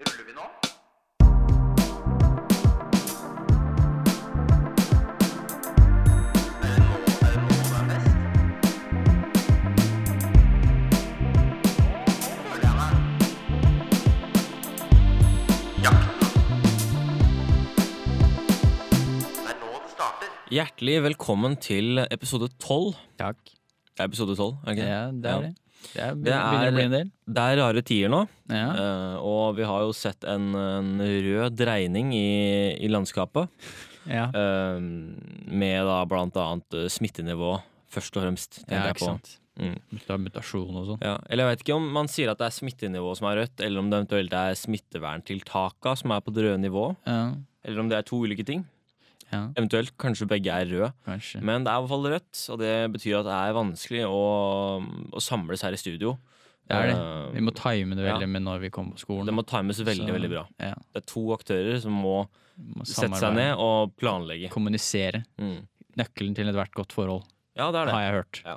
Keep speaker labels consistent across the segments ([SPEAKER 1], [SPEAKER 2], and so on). [SPEAKER 1] Ruller vi nå?
[SPEAKER 2] Hjertelig velkommen til episode 12.
[SPEAKER 3] Takk.
[SPEAKER 2] Det er episode 12, er det ikke det?
[SPEAKER 3] Ja, det
[SPEAKER 2] Ja.
[SPEAKER 3] er det. Det er,
[SPEAKER 2] Det
[SPEAKER 3] begynner å bli en del.
[SPEAKER 2] Det er rare tider nå,
[SPEAKER 3] Ja.
[SPEAKER 2] eh, og vi har jo sett en, en rød dreining i, i landskapet.
[SPEAKER 3] Ja.
[SPEAKER 2] eh, Med da blant annet eh, smittenivå, først og fremst. tenker
[SPEAKER 3] ja,
[SPEAKER 2] jeg
[SPEAKER 3] ikke
[SPEAKER 2] på.
[SPEAKER 3] sant.
[SPEAKER 2] Mm.
[SPEAKER 3] Muta- Mutasjon og sånn.
[SPEAKER 2] Ja, eller jeg vet ikke om man sier at det er smittenivå som er rødt, eller om det eventuelt er smitteverntiltaka som er på det røde nivå,
[SPEAKER 3] Ja.
[SPEAKER 2] eller om det er to ulike ting.
[SPEAKER 3] ja,
[SPEAKER 2] Eventuelt kanskje begge er røde.
[SPEAKER 3] kanskje.
[SPEAKER 2] Men det er i hvert fall rødt, og det betyr at det er vanskelig å, å samles her i studio.
[SPEAKER 3] Det er det.
[SPEAKER 2] Eh,
[SPEAKER 3] Vi må time det
[SPEAKER 2] ja.
[SPEAKER 3] veldig med når vi kommer på skolen.
[SPEAKER 2] det må times veldig,
[SPEAKER 3] Så-
[SPEAKER 2] veldig bra.
[SPEAKER 3] ja.
[SPEAKER 2] Det er to aktører som må
[SPEAKER 3] Må
[SPEAKER 2] sette
[SPEAKER 3] samarbeide.
[SPEAKER 2] seg ned og planlegge.
[SPEAKER 3] Kommunisere.
[SPEAKER 2] Mm.
[SPEAKER 3] Nøkkelen til ethvert godt forhold,
[SPEAKER 2] Ja, det er det.
[SPEAKER 3] har jeg hørt.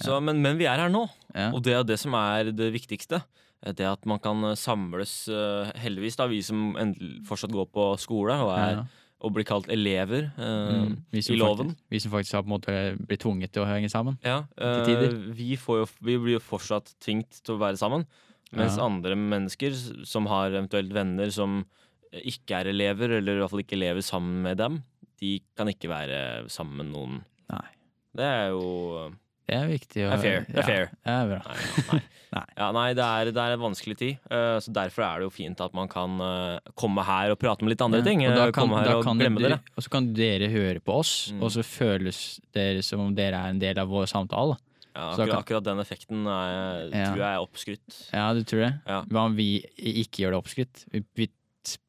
[SPEAKER 2] Så, men, men vi er her nå,
[SPEAKER 3] Ja.
[SPEAKER 2] og det er det som er det viktigste. Eh, Det at man kan samles, eh, heldigvis, da, vi som endel- fortsatt går på skole og, er,
[SPEAKER 3] Ja.
[SPEAKER 2] og blir kalt elever eh,
[SPEAKER 3] Mm. Vi som
[SPEAKER 2] i loven.
[SPEAKER 3] Faktisk, vi som faktisk har på en måte blitt tvunget til å henge sammen.
[SPEAKER 2] Ja,
[SPEAKER 3] Til
[SPEAKER 2] eh,
[SPEAKER 3] tider.
[SPEAKER 2] vi, får jo, vi blir jo fortsatt tvunget til å være sammen. Mens
[SPEAKER 3] Ja.
[SPEAKER 2] andre mennesker s- som har eventuelt venner som ikke er elever, eller i hvert fall ikke lever sammen med dem, de kan ikke være sammen med noen.
[SPEAKER 3] Nei.
[SPEAKER 2] Det er jo eh,
[SPEAKER 3] Det er viktig. å-
[SPEAKER 2] det er fair. Det
[SPEAKER 3] Ja,
[SPEAKER 2] er fair.
[SPEAKER 3] det er bra.
[SPEAKER 2] Nei, ja, nei.
[SPEAKER 3] Nei.
[SPEAKER 2] Ja, nei det, er, det er en vanskelig tid. eh, så Derfor er det jo fint at man kan eh, komme her og prate om litt andre
[SPEAKER 3] Ja,
[SPEAKER 2] ting.
[SPEAKER 3] og
[SPEAKER 2] eh,
[SPEAKER 3] da kan-
[SPEAKER 2] komme her
[SPEAKER 3] da
[SPEAKER 2] og
[SPEAKER 3] kan
[SPEAKER 2] glemme
[SPEAKER 3] dere-
[SPEAKER 2] dere.
[SPEAKER 3] Og så kan dere høre på oss,
[SPEAKER 2] Mm.
[SPEAKER 3] og så føles dere som om dere er en del av vår samtale.
[SPEAKER 2] Ja,
[SPEAKER 3] så da
[SPEAKER 2] akkurat,
[SPEAKER 3] kan-
[SPEAKER 2] akkurat den effekten er,
[SPEAKER 3] Ja.
[SPEAKER 2] tror jeg er oppskrytt.
[SPEAKER 3] Ja, du tror det?
[SPEAKER 2] Ja.
[SPEAKER 3] Hva om vi ikke gjør det oppskrytt? Vi, vi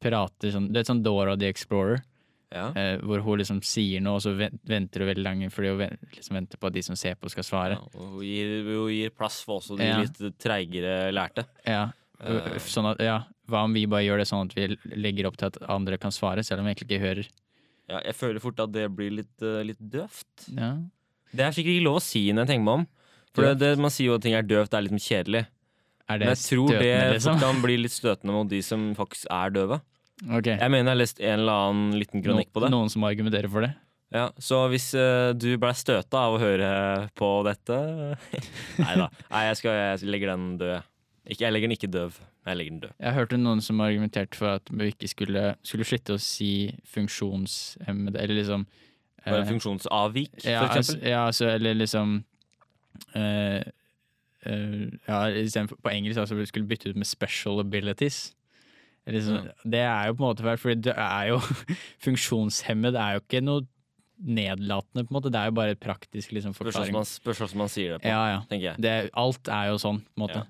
[SPEAKER 3] prater sånn Du vet sånn Dora the Explorer,
[SPEAKER 2] Ja.
[SPEAKER 3] eh, hvor hun liksom sier noe, og så ven- venter hun veldig lenge fordi hun ven- liksom venter på at de som ser på, skal svare.
[SPEAKER 2] Ja, og hun gir, hun gir plass for også de
[SPEAKER 3] Ja.
[SPEAKER 2] litt treigere lærte.
[SPEAKER 3] Ja.
[SPEAKER 2] Eh.
[SPEAKER 3] Sånn at, ja. Hva om vi bare gjør det sånn at vi legger opp til at andre kan svare, selv om vi egentlig ikke hører?
[SPEAKER 2] Ja, jeg føler fort at det blir litt, eh, litt døvt.
[SPEAKER 3] Ja.
[SPEAKER 2] Det er sikkert ikke lov å si når jeg tenker meg om. For det, det, Man sier jo at ting er døvt, det er liksom kjedelig. Men
[SPEAKER 3] Er det
[SPEAKER 2] jeg tror det
[SPEAKER 3] støtende,
[SPEAKER 2] fort
[SPEAKER 3] liksom?
[SPEAKER 2] kan bli litt støtende mot de som faktisk er døve.
[SPEAKER 3] Ok.
[SPEAKER 2] Jeg mener jeg har lest en eller annen liten kronikk på det.
[SPEAKER 3] Noen som argumenterer for det?
[SPEAKER 2] Ja, så hvis eh, du ble støta av å høre på dette Nei da. Nei, jeg, skal, jeg legger den død. jeg. Ikke, jeg legger den ikke døv. Jeg legger den død.
[SPEAKER 3] Jeg hørte noen som argumenterte for at vi ikke skulle, skulle slutte å si funksjonshemmede, eller liksom
[SPEAKER 2] Bare
[SPEAKER 3] eh,
[SPEAKER 2] funksjonsavvik,
[SPEAKER 3] ja,
[SPEAKER 2] for
[SPEAKER 3] altså,
[SPEAKER 2] eksempel.
[SPEAKER 3] ja, altså, eller liksom eh, eh, Ja, istedenfor på engelsk altså, vi skulle bytte ut med 'special abilities'. Liksom, Det er jo på en måte feil, for det er jo funksjonshemmet er jo ikke noe nedlatende, på en måte. Det er jo bare et praktisk liksom,
[SPEAKER 2] Spørs hvordan
[SPEAKER 3] forklaring.
[SPEAKER 2] sånn man, spørs hvordan man sier det på,
[SPEAKER 3] Ja, ja.
[SPEAKER 2] tenker jeg.
[SPEAKER 3] Det, alt er jo sånn, på en måte.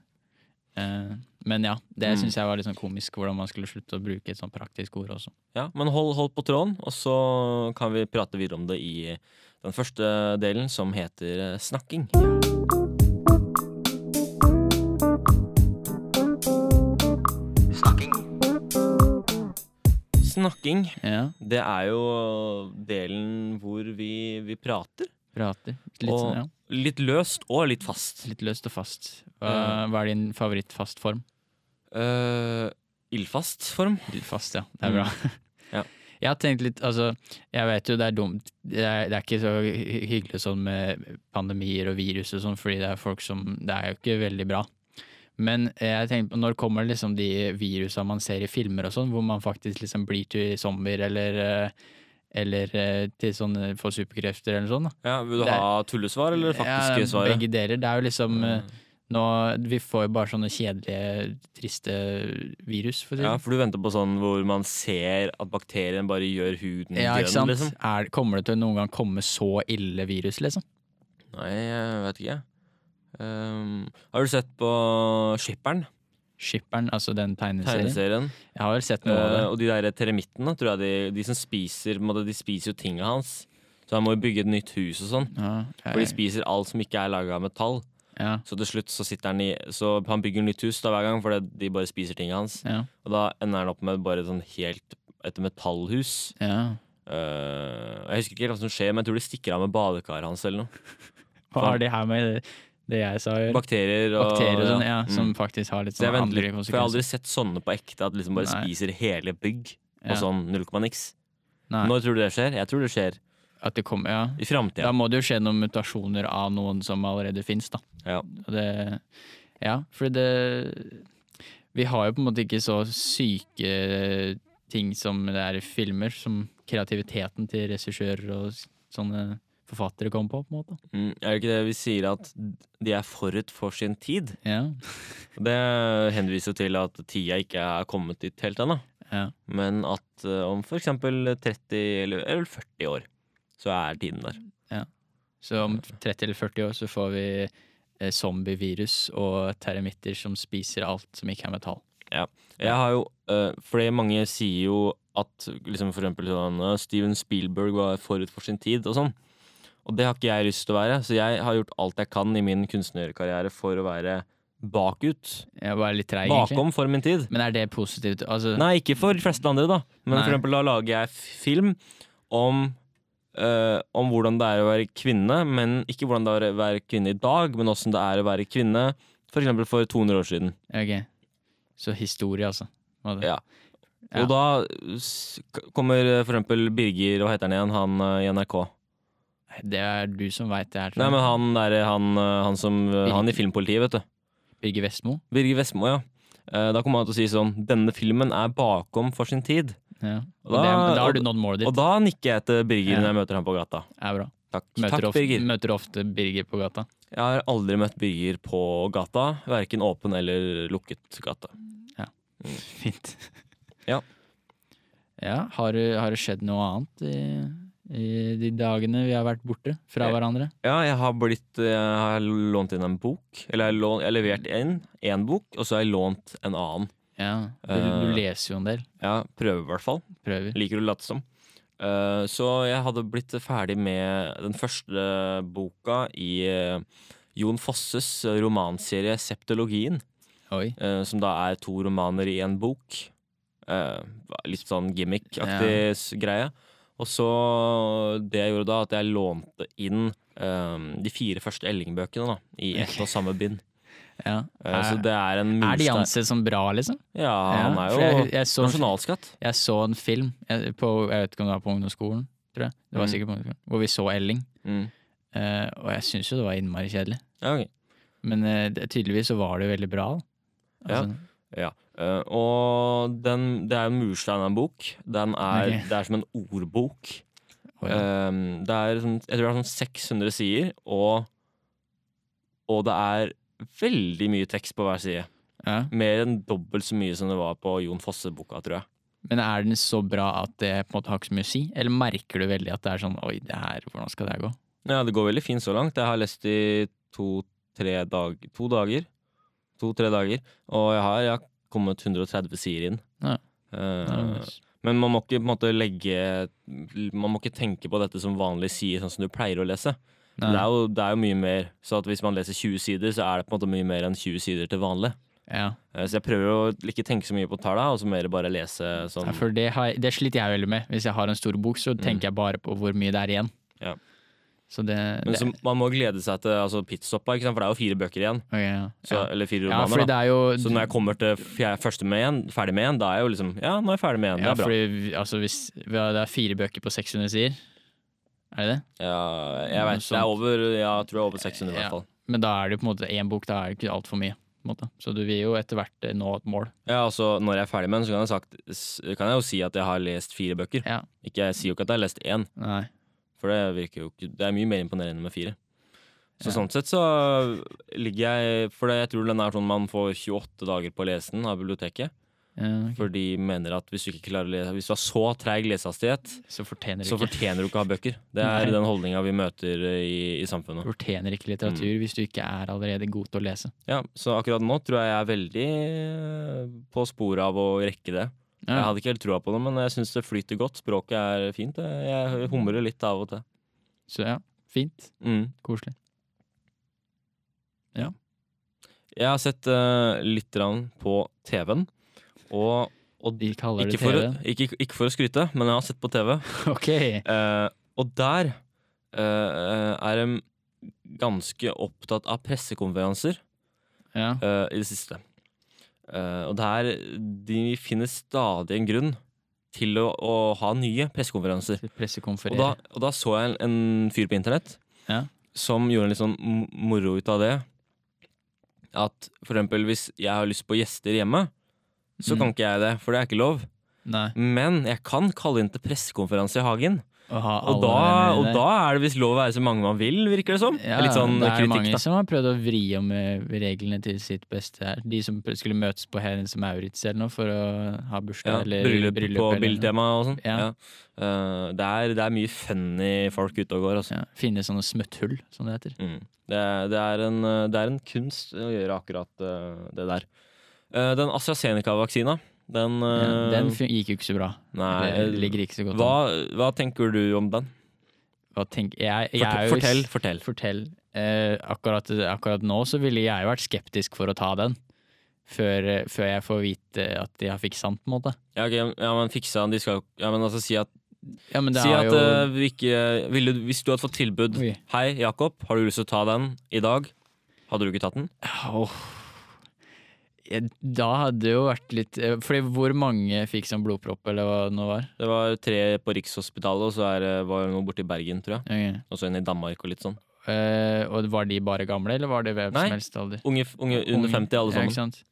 [SPEAKER 3] Eh, men ja, det
[SPEAKER 2] Mm.
[SPEAKER 3] synes syns jeg var litt sånn komisk, hvordan man skulle slutte å bruke et sånn praktisk ord også.
[SPEAKER 2] Ja, men hold, hold på tråden, og så kan vi prate videre om det i den første delen, som heter eh, snakking.
[SPEAKER 1] Snakking.
[SPEAKER 2] Snakking,
[SPEAKER 3] Ja,
[SPEAKER 2] det er jo delen hvor vi, vi prater.
[SPEAKER 3] prater. Litt,
[SPEAKER 2] og
[SPEAKER 3] sånn, ja.
[SPEAKER 2] litt løst og litt fast.
[SPEAKER 3] litt løst og fast. Hva, hva er din favorittfast form?
[SPEAKER 2] Uh, Ildfast form.
[SPEAKER 3] Litt fast, ja. Det er bra.
[SPEAKER 2] Mm. Ja.
[SPEAKER 3] Jeg har tenkt litt, altså, jeg vet jo det er dumt Det er, det er ikke så hy- hyggelig sånn med pandemier og virus og sånn, fordi det er folk som Det er jo ikke veldig bra. Men jeg tenker på, når kommer liksom de virusa man ser i filmer og sånn, hvor man faktisk liksom blir til zombier eller eh, Eller eh, til sånne får superkrefter eller sånn, da.
[SPEAKER 2] Ja, vil du
[SPEAKER 3] Det er-
[SPEAKER 2] ha tullesvar eller det
[SPEAKER 3] Ja,
[SPEAKER 2] faktiske svaret?
[SPEAKER 3] Begge deler. Det er jo liksom eh,
[SPEAKER 2] Mm.
[SPEAKER 3] nå, Vi får jo bare sånne kjedelige, triste virus, for å si det
[SPEAKER 2] Ja, for du venter på sånn hvor man ser at bakterien bare gjør huden
[SPEAKER 3] Ja, ikke
[SPEAKER 2] grønn,
[SPEAKER 3] sant?
[SPEAKER 2] liksom?
[SPEAKER 3] Er, kommer det til å noen gang komme så ille virus, liksom?
[SPEAKER 2] Nei, jeg vet ikke. Um, har du sett på Skipperen?
[SPEAKER 3] Skipperen, altså den tegneserien.
[SPEAKER 2] Tegneserien.
[SPEAKER 3] Jeg har vel sett noe av det.
[SPEAKER 2] Eh, og de der teremittene, tror jeg de, de som spiser på en måte, De spiser jo tinga hans. Så han må jo bygge et nytt hus og sånn.
[SPEAKER 3] Ja,
[SPEAKER 2] For de
[SPEAKER 3] jeg,
[SPEAKER 2] spiser alt som ikke er laga av metall.
[SPEAKER 3] ja,
[SPEAKER 2] Så til slutt så sitter han i Så han bygger nytt hus da hver gang, for de bare spiser tinga hans.
[SPEAKER 3] ja,
[SPEAKER 2] Og da ender han opp med bare sånn helt et metallhus.
[SPEAKER 3] ja.
[SPEAKER 2] Eh, jeg husker ikke helt hva som skjer, men jeg tror de stikker av med badekaret hans eller noe.
[SPEAKER 3] Hva har det her med det jeg sa. gjør.
[SPEAKER 2] Bakterier og
[SPEAKER 3] Bakterier og sånn, ja, som
[SPEAKER 2] Mm.
[SPEAKER 3] faktisk har litt
[SPEAKER 2] Så jeg
[SPEAKER 3] sånn
[SPEAKER 2] venter
[SPEAKER 3] andre
[SPEAKER 2] litt, for jeg har aldri
[SPEAKER 3] konsekvenser.
[SPEAKER 2] sett sånne på ekte, at liksom bare
[SPEAKER 3] Nei.
[SPEAKER 2] spiser hele bygg
[SPEAKER 3] Ja.
[SPEAKER 2] og sånn null komma niks.
[SPEAKER 3] Nei,
[SPEAKER 2] Når tror du det skjer? Jeg tror det skjer
[SPEAKER 3] at det kommer, ja.
[SPEAKER 2] i
[SPEAKER 3] Da
[SPEAKER 2] framtida.
[SPEAKER 3] må det jo skje noen mutasjoner av noen som allerede finnes, da.
[SPEAKER 2] Ja.
[SPEAKER 3] Og det, ja, for det Vi har jo på en måte ikke så syke ting som det er i filmer, som kreativiteten til regissører og s- sånne forfattere kommer på, på en måte.
[SPEAKER 2] Mm, er det ikke det vi sier, at de er forut for sin tid?
[SPEAKER 3] Ja,
[SPEAKER 2] Det henviser jo til at tida ikke er kommet dit helt ennå.
[SPEAKER 3] ja.
[SPEAKER 2] Men at eh, om for eksempel 30 eller, eller 40 år, så er tiden der.
[SPEAKER 3] Så om 30 eller 40 år så får vi eh, zombievirus og termitter som spiser alt som ikke er metall.
[SPEAKER 2] Jeg har jo, eh, fordi mange sier jo at liksom for eksempel sånn, eh, Steven Spielberg var forut for sin tid og sånn. Og det har ikke jeg lyst til å være, så jeg har gjort alt jeg kan i min kunstnerkarriere for å være bakut.
[SPEAKER 3] Jeg var litt treig, egentlig.
[SPEAKER 2] Bakom for min tid.
[SPEAKER 3] Men er det positivt? Altså,
[SPEAKER 2] Nei, ikke for de fleste andre, da. Men
[SPEAKER 3] Nei.
[SPEAKER 2] for eksempel, da lager jeg f- film om eh, om hvordan det er å være kvinne, men ikke hvordan det er å være kvinne i dag, men åssen det er å være kvinne for eksempel for 200 år siden.
[SPEAKER 3] Ok. Så historie, altså. Var det?
[SPEAKER 2] Ja.
[SPEAKER 3] Ja.
[SPEAKER 2] Og da s- k- kommer eh, for eksempel Birger, hva heter han igjen, han eh, i NRK?
[SPEAKER 3] Det er du som veit det her. tror
[SPEAKER 2] Nei,
[SPEAKER 3] jeg.
[SPEAKER 2] men han der, han, eh, han som eh, Han i Filmpolitiet, vet du.
[SPEAKER 3] Birger Vestmo.
[SPEAKER 2] Birger Vestmo, ja. Eh, Da kommer han til å si sånn Denne filmen er bakom for sin tid.
[SPEAKER 3] Ja. Og
[SPEAKER 2] Da-
[SPEAKER 3] det, men da har
[SPEAKER 2] og-
[SPEAKER 3] du nådd målet
[SPEAKER 2] Og
[SPEAKER 3] ditt.
[SPEAKER 2] da nikker jeg til Birger
[SPEAKER 3] Ja.
[SPEAKER 2] når jeg møter ham på gata.
[SPEAKER 3] Det er bra.
[SPEAKER 2] Takk,
[SPEAKER 3] Møter,
[SPEAKER 2] Takk
[SPEAKER 3] ofte,
[SPEAKER 2] Birger.
[SPEAKER 3] møter ofte Birger på gata.
[SPEAKER 2] Jeg har aldri møtt Birger på gata, verken åpen eller lukket gate.
[SPEAKER 3] Fint.
[SPEAKER 2] Mm. Ja.
[SPEAKER 3] Ja, har, det- har det skjedd noe annet i, i de dagene vi har vært borte fra
[SPEAKER 2] Ja.
[SPEAKER 3] hverandre?
[SPEAKER 2] Ja, jeg har, blitt, eh, jeg har lånt inn en bok. Eller jeg har, lånt, jeg har levert inn én bok, og så har jeg lånt en annen.
[SPEAKER 3] Ja. Du, du
[SPEAKER 2] Eh.
[SPEAKER 3] leser jo en del.
[SPEAKER 2] Ja, Prøver, i hvert fall.
[SPEAKER 3] Prøver.
[SPEAKER 2] Liker å late som. Eh, så jeg hadde blitt ferdig med den første boka i eh, Jon Fosses romanserie Septologien,
[SPEAKER 3] Oi.
[SPEAKER 2] eh, som da er to romaner i én bok. Eh, litt sånn gimmick-aktig s- greie. Og så det jeg gjorde da, at jeg lånte inn eh, de fire første Elling-bøkene da, i ett og samme bind.
[SPEAKER 3] Ja.
[SPEAKER 2] Eh, så
[SPEAKER 3] Er,
[SPEAKER 2] det er en
[SPEAKER 3] er de
[SPEAKER 2] murstein.
[SPEAKER 3] ansett som bra, liksom?
[SPEAKER 2] Ja, han
[SPEAKER 3] Ja,
[SPEAKER 2] er
[SPEAKER 3] for
[SPEAKER 2] jo
[SPEAKER 3] jeg, jeg, så,
[SPEAKER 2] nasjonalskatt.
[SPEAKER 3] jeg så en film jeg, på, jeg vet ikke om det var på ungdomsskolen, tror jeg. Det var
[SPEAKER 2] Mm.
[SPEAKER 3] sikkert på ungdomsskolen. Hvor vi så Elling.
[SPEAKER 2] Mm.
[SPEAKER 3] Eh, og jeg syns jo det var innmari kjedelig.
[SPEAKER 2] Ja, ok.
[SPEAKER 3] Men eh, det- tydeligvis så var det jo veldig bra. da.
[SPEAKER 2] Ja.
[SPEAKER 3] Altså,
[SPEAKER 2] Eh, og den, det er en murstein av en bok. Den er,
[SPEAKER 3] Ok.
[SPEAKER 2] Det er som en ordbok.
[SPEAKER 3] å ja.
[SPEAKER 2] Eh, det er sånn, jeg tror det er sånn 600 sider, og, og det er veldig mye tekst på hver side.
[SPEAKER 3] ja.
[SPEAKER 2] Mer enn dobbelt så mye som det var på Jon Fosse-boka, tror jeg.
[SPEAKER 3] Men er den så bra at det på en måte har ikke så mye å si? Eller merker du veldig at det er sånn Oi, det her, hvordan skal det her gå?
[SPEAKER 2] Ja, det går veldig fint så langt. Jeg har lest i to-tre dag, to dager. To-tre dager. Og jeg har, jeg har kommet 130 sider inn.
[SPEAKER 3] Ja.
[SPEAKER 2] Eh,
[SPEAKER 3] Ja,
[SPEAKER 2] men man må ikke på en måte legge Man må ikke tenke på dette som vanlig sier, sånn som du pleier å lese. Det
[SPEAKER 3] Nei.
[SPEAKER 2] er, jo, det er jo mye mer. Så at hvis man leser 20 sider, så er det på en måte mye mer enn 20 sider til vanlig.
[SPEAKER 3] Ja.
[SPEAKER 2] Eh, så jeg prøver å ikke tenke så mye på tallene, og så mer bare lese sånn.
[SPEAKER 3] Ja, for det, har, jeg- det sliter jeg veldig med. Hvis jeg har en stor bok, så tenker jeg bare på hvor mye det er igjen.
[SPEAKER 2] Mm. Ja.
[SPEAKER 3] Så det,
[SPEAKER 2] men
[SPEAKER 3] det
[SPEAKER 2] så, man må glede seg til altså, pitstoppa, ikke sant? for det er jo fire bøker igjen.
[SPEAKER 3] ok, ja.
[SPEAKER 2] Så,
[SPEAKER 3] ja.
[SPEAKER 2] Eller fire
[SPEAKER 3] ja,
[SPEAKER 2] romaner. da.
[SPEAKER 3] fordi det er jo
[SPEAKER 2] Så når jeg kommer til f- jeg er første med en, ferdig med en, da er jeg jo liksom Ja, nå er jeg ferdig med en.
[SPEAKER 3] ja,
[SPEAKER 2] det er bra.
[SPEAKER 3] fordi, vi- altså, hvis, vi har, Det er fire bøker på 600 sider. Er det det?
[SPEAKER 2] Ja, jeg vet, det er over ja, jeg tror det er over 600 i
[SPEAKER 3] Mm, Ja.
[SPEAKER 2] hvert fall.
[SPEAKER 3] Men da er det jo på en måte én bok, da er det ikke altfor mye. På en måte. Så du vil jo etter hvert eh, nå et mål.
[SPEAKER 2] Ja, altså Når jeg er ferdig med en, så kan jeg, sagt, s- kan jeg jo si at jeg har lest fire bøker.
[SPEAKER 3] Ja.
[SPEAKER 2] Ikke, jeg sier jo ikke at jeg har lest én,
[SPEAKER 3] Nei.
[SPEAKER 2] for det virker jo ikke Det er mye mer imponerende med fire. Så
[SPEAKER 3] Ja.
[SPEAKER 2] sånn sett så ligger jeg For det, jeg tror den er sånn man får 28 dager på å lese den av biblioteket.
[SPEAKER 3] Ja, ok.
[SPEAKER 2] For de mener at hvis du ikke klarer å lese Hvis du har så treig lesehastighet,
[SPEAKER 3] Så fortjener
[SPEAKER 2] så
[SPEAKER 3] du ikke,
[SPEAKER 2] fortjener du ikke å ha bøker. Det er
[SPEAKER 3] Nei.
[SPEAKER 2] den holdninga vi møter i, i samfunnet.
[SPEAKER 3] fortjener ikke
[SPEAKER 2] Mm.
[SPEAKER 3] litteratur hvis du ikke er allerede god til å lese.
[SPEAKER 2] Ja, så akkurat nå tror jeg jeg er veldig eh, på sporet av å rekke det. Jeg hadde ikke helt troa på det, men jeg syns det flyter godt. Språket er fint. det.
[SPEAKER 3] Mm.
[SPEAKER 2] Jeg humrer litt av og til.
[SPEAKER 3] Så ja, fint.
[SPEAKER 2] Mm.
[SPEAKER 3] Koselig.
[SPEAKER 2] Jeg har sett eh, litt grann på TV-en, og, og
[SPEAKER 3] De kaller
[SPEAKER 2] ikke
[SPEAKER 3] det
[SPEAKER 2] for,
[SPEAKER 3] TV.
[SPEAKER 2] å- ikke, ikke for å skryte, men jeg har sett på TV.
[SPEAKER 3] Ok.
[SPEAKER 2] Eh, og der eh, er det ganske opptatt av pressekonferanser
[SPEAKER 3] Ja.
[SPEAKER 2] eh, i det siste. Eh, og det er, de finner stadig en grunn til å, å ha nye pressekonferanser. Og da,
[SPEAKER 3] Pressekonferere.
[SPEAKER 2] og da så jeg en, en fyr på internett
[SPEAKER 3] Ja.
[SPEAKER 2] som gjorde en litt sånn m- moro ut av det. At for eksempel hvis jeg har lyst på gjester hjemme, så
[SPEAKER 3] Mm.
[SPEAKER 2] kan ikke jeg det, for det er ikke lov.
[SPEAKER 3] Nei.
[SPEAKER 2] Men jeg kan kalle inn til pressekonferanse i hagen.
[SPEAKER 3] Å ha
[SPEAKER 2] Og
[SPEAKER 3] alle
[SPEAKER 2] da, og
[SPEAKER 3] venner der.
[SPEAKER 2] da er det visst lov å være så mange man vil, virker det som.
[SPEAKER 3] Ja,
[SPEAKER 2] litt sånn
[SPEAKER 3] det er
[SPEAKER 2] kritikk,
[SPEAKER 3] mange
[SPEAKER 2] da.
[SPEAKER 3] som har prøvd å vri om eh, reglene til sitt beste her. De som pr- skulle møtes på Hennes Maurits eller noe for å ha
[SPEAKER 2] Ja,
[SPEAKER 3] bursdag eller
[SPEAKER 2] bryllup, på
[SPEAKER 3] eller noe.
[SPEAKER 2] Biltema og sånn. Ja.
[SPEAKER 3] Ja.
[SPEAKER 2] Eh, det, er, det er mye funny folk ute og går, altså.
[SPEAKER 3] Ja, finne sånne smutthull, som det heter.
[SPEAKER 2] Mm. Det, er- det, er en, eh, det er en kunst å gjøre akkurat eh, det der. Eh, den AstraZeneca-vaksina, den,
[SPEAKER 3] Ja,
[SPEAKER 2] eh,
[SPEAKER 3] den fun- gikk jo ikke så bra.
[SPEAKER 2] Nei, eh,
[SPEAKER 3] det ligger ikke så godt an.
[SPEAKER 2] hva, hva tenker du om den?
[SPEAKER 3] Hva tenk- jeg, jeg
[SPEAKER 2] Fort-
[SPEAKER 3] er jo-
[SPEAKER 2] fortell, fortell.
[SPEAKER 3] fortell. Eh, akkurat, akkurat nå så ville jeg jo vært skeptisk for å ta den. Før, eh, før jeg får vite at jeg fikk sant, på en måte.
[SPEAKER 2] Ja, ok, ja, men fiksa han, de skal jo Ja, men altså, si at,
[SPEAKER 3] Ja, men det
[SPEAKER 2] si
[SPEAKER 3] har
[SPEAKER 2] at
[SPEAKER 3] jo
[SPEAKER 2] eh, vi ikke ville, du- Hvis du hadde fått tilbud
[SPEAKER 3] Oi.
[SPEAKER 2] Hei, Jakob, har du lyst til å ta den i dag? Hadde du ikke tatt den?
[SPEAKER 3] Åh. Eh, Da hadde det jo vært litt eh, Fordi hvor mange fikk sånn blodpropp, eller hva det nå var?
[SPEAKER 2] Det var tre på Rikshospitalet, og så er, det- var det noe borte i Bergen, tror jeg.
[SPEAKER 3] Ok.
[SPEAKER 2] Og så en i Danmark og litt sånn.
[SPEAKER 3] Eh, og var de bare gamle, eller var det hvem
[SPEAKER 2] Nei.
[SPEAKER 3] som helst alder?
[SPEAKER 2] Unge, unge under 50, alle
[SPEAKER 3] Ja, ikke
[SPEAKER 2] sammen.
[SPEAKER 3] sant?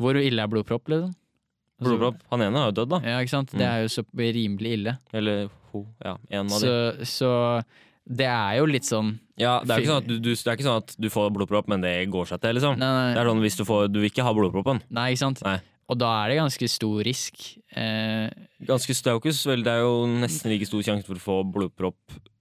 [SPEAKER 3] Hvor ille er blodpropp, liksom? Altså-
[SPEAKER 2] Blodpropp. Han ene har jo dødd, da.
[SPEAKER 3] Ja, ikke sant? Det er jo så rimelig ille.
[SPEAKER 2] Eller ho, ja, en av
[SPEAKER 3] Så,
[SPEAKER 2] Mm. de.
[SPEAKER 3] så det er jo litt sånn
[SPEAKER 2] Ja, det, er ikke
[SPEAKER 3] Fy-
[SPEAKER 2] sånn at du, du, det er ikke sånn at du får blodpropp, men det går seg til, liksom.
[SPEAKER 3] Nei,
[SPEAKER 2] Det
[SPEAKER 3] nei,
[SPEAKER 2] er sånn hvis du får Du vil ikke ha blodproppen.
[SPEAKER 3] nei ikke sant?
[SPEAKER 2] Nei.
[SPEAKER 3] Og da er det ganske stor risk. Eh,
[SPEAKER 2] Ganske staukus, vel, det er jo nesten like stor sjanse for å få blodpropp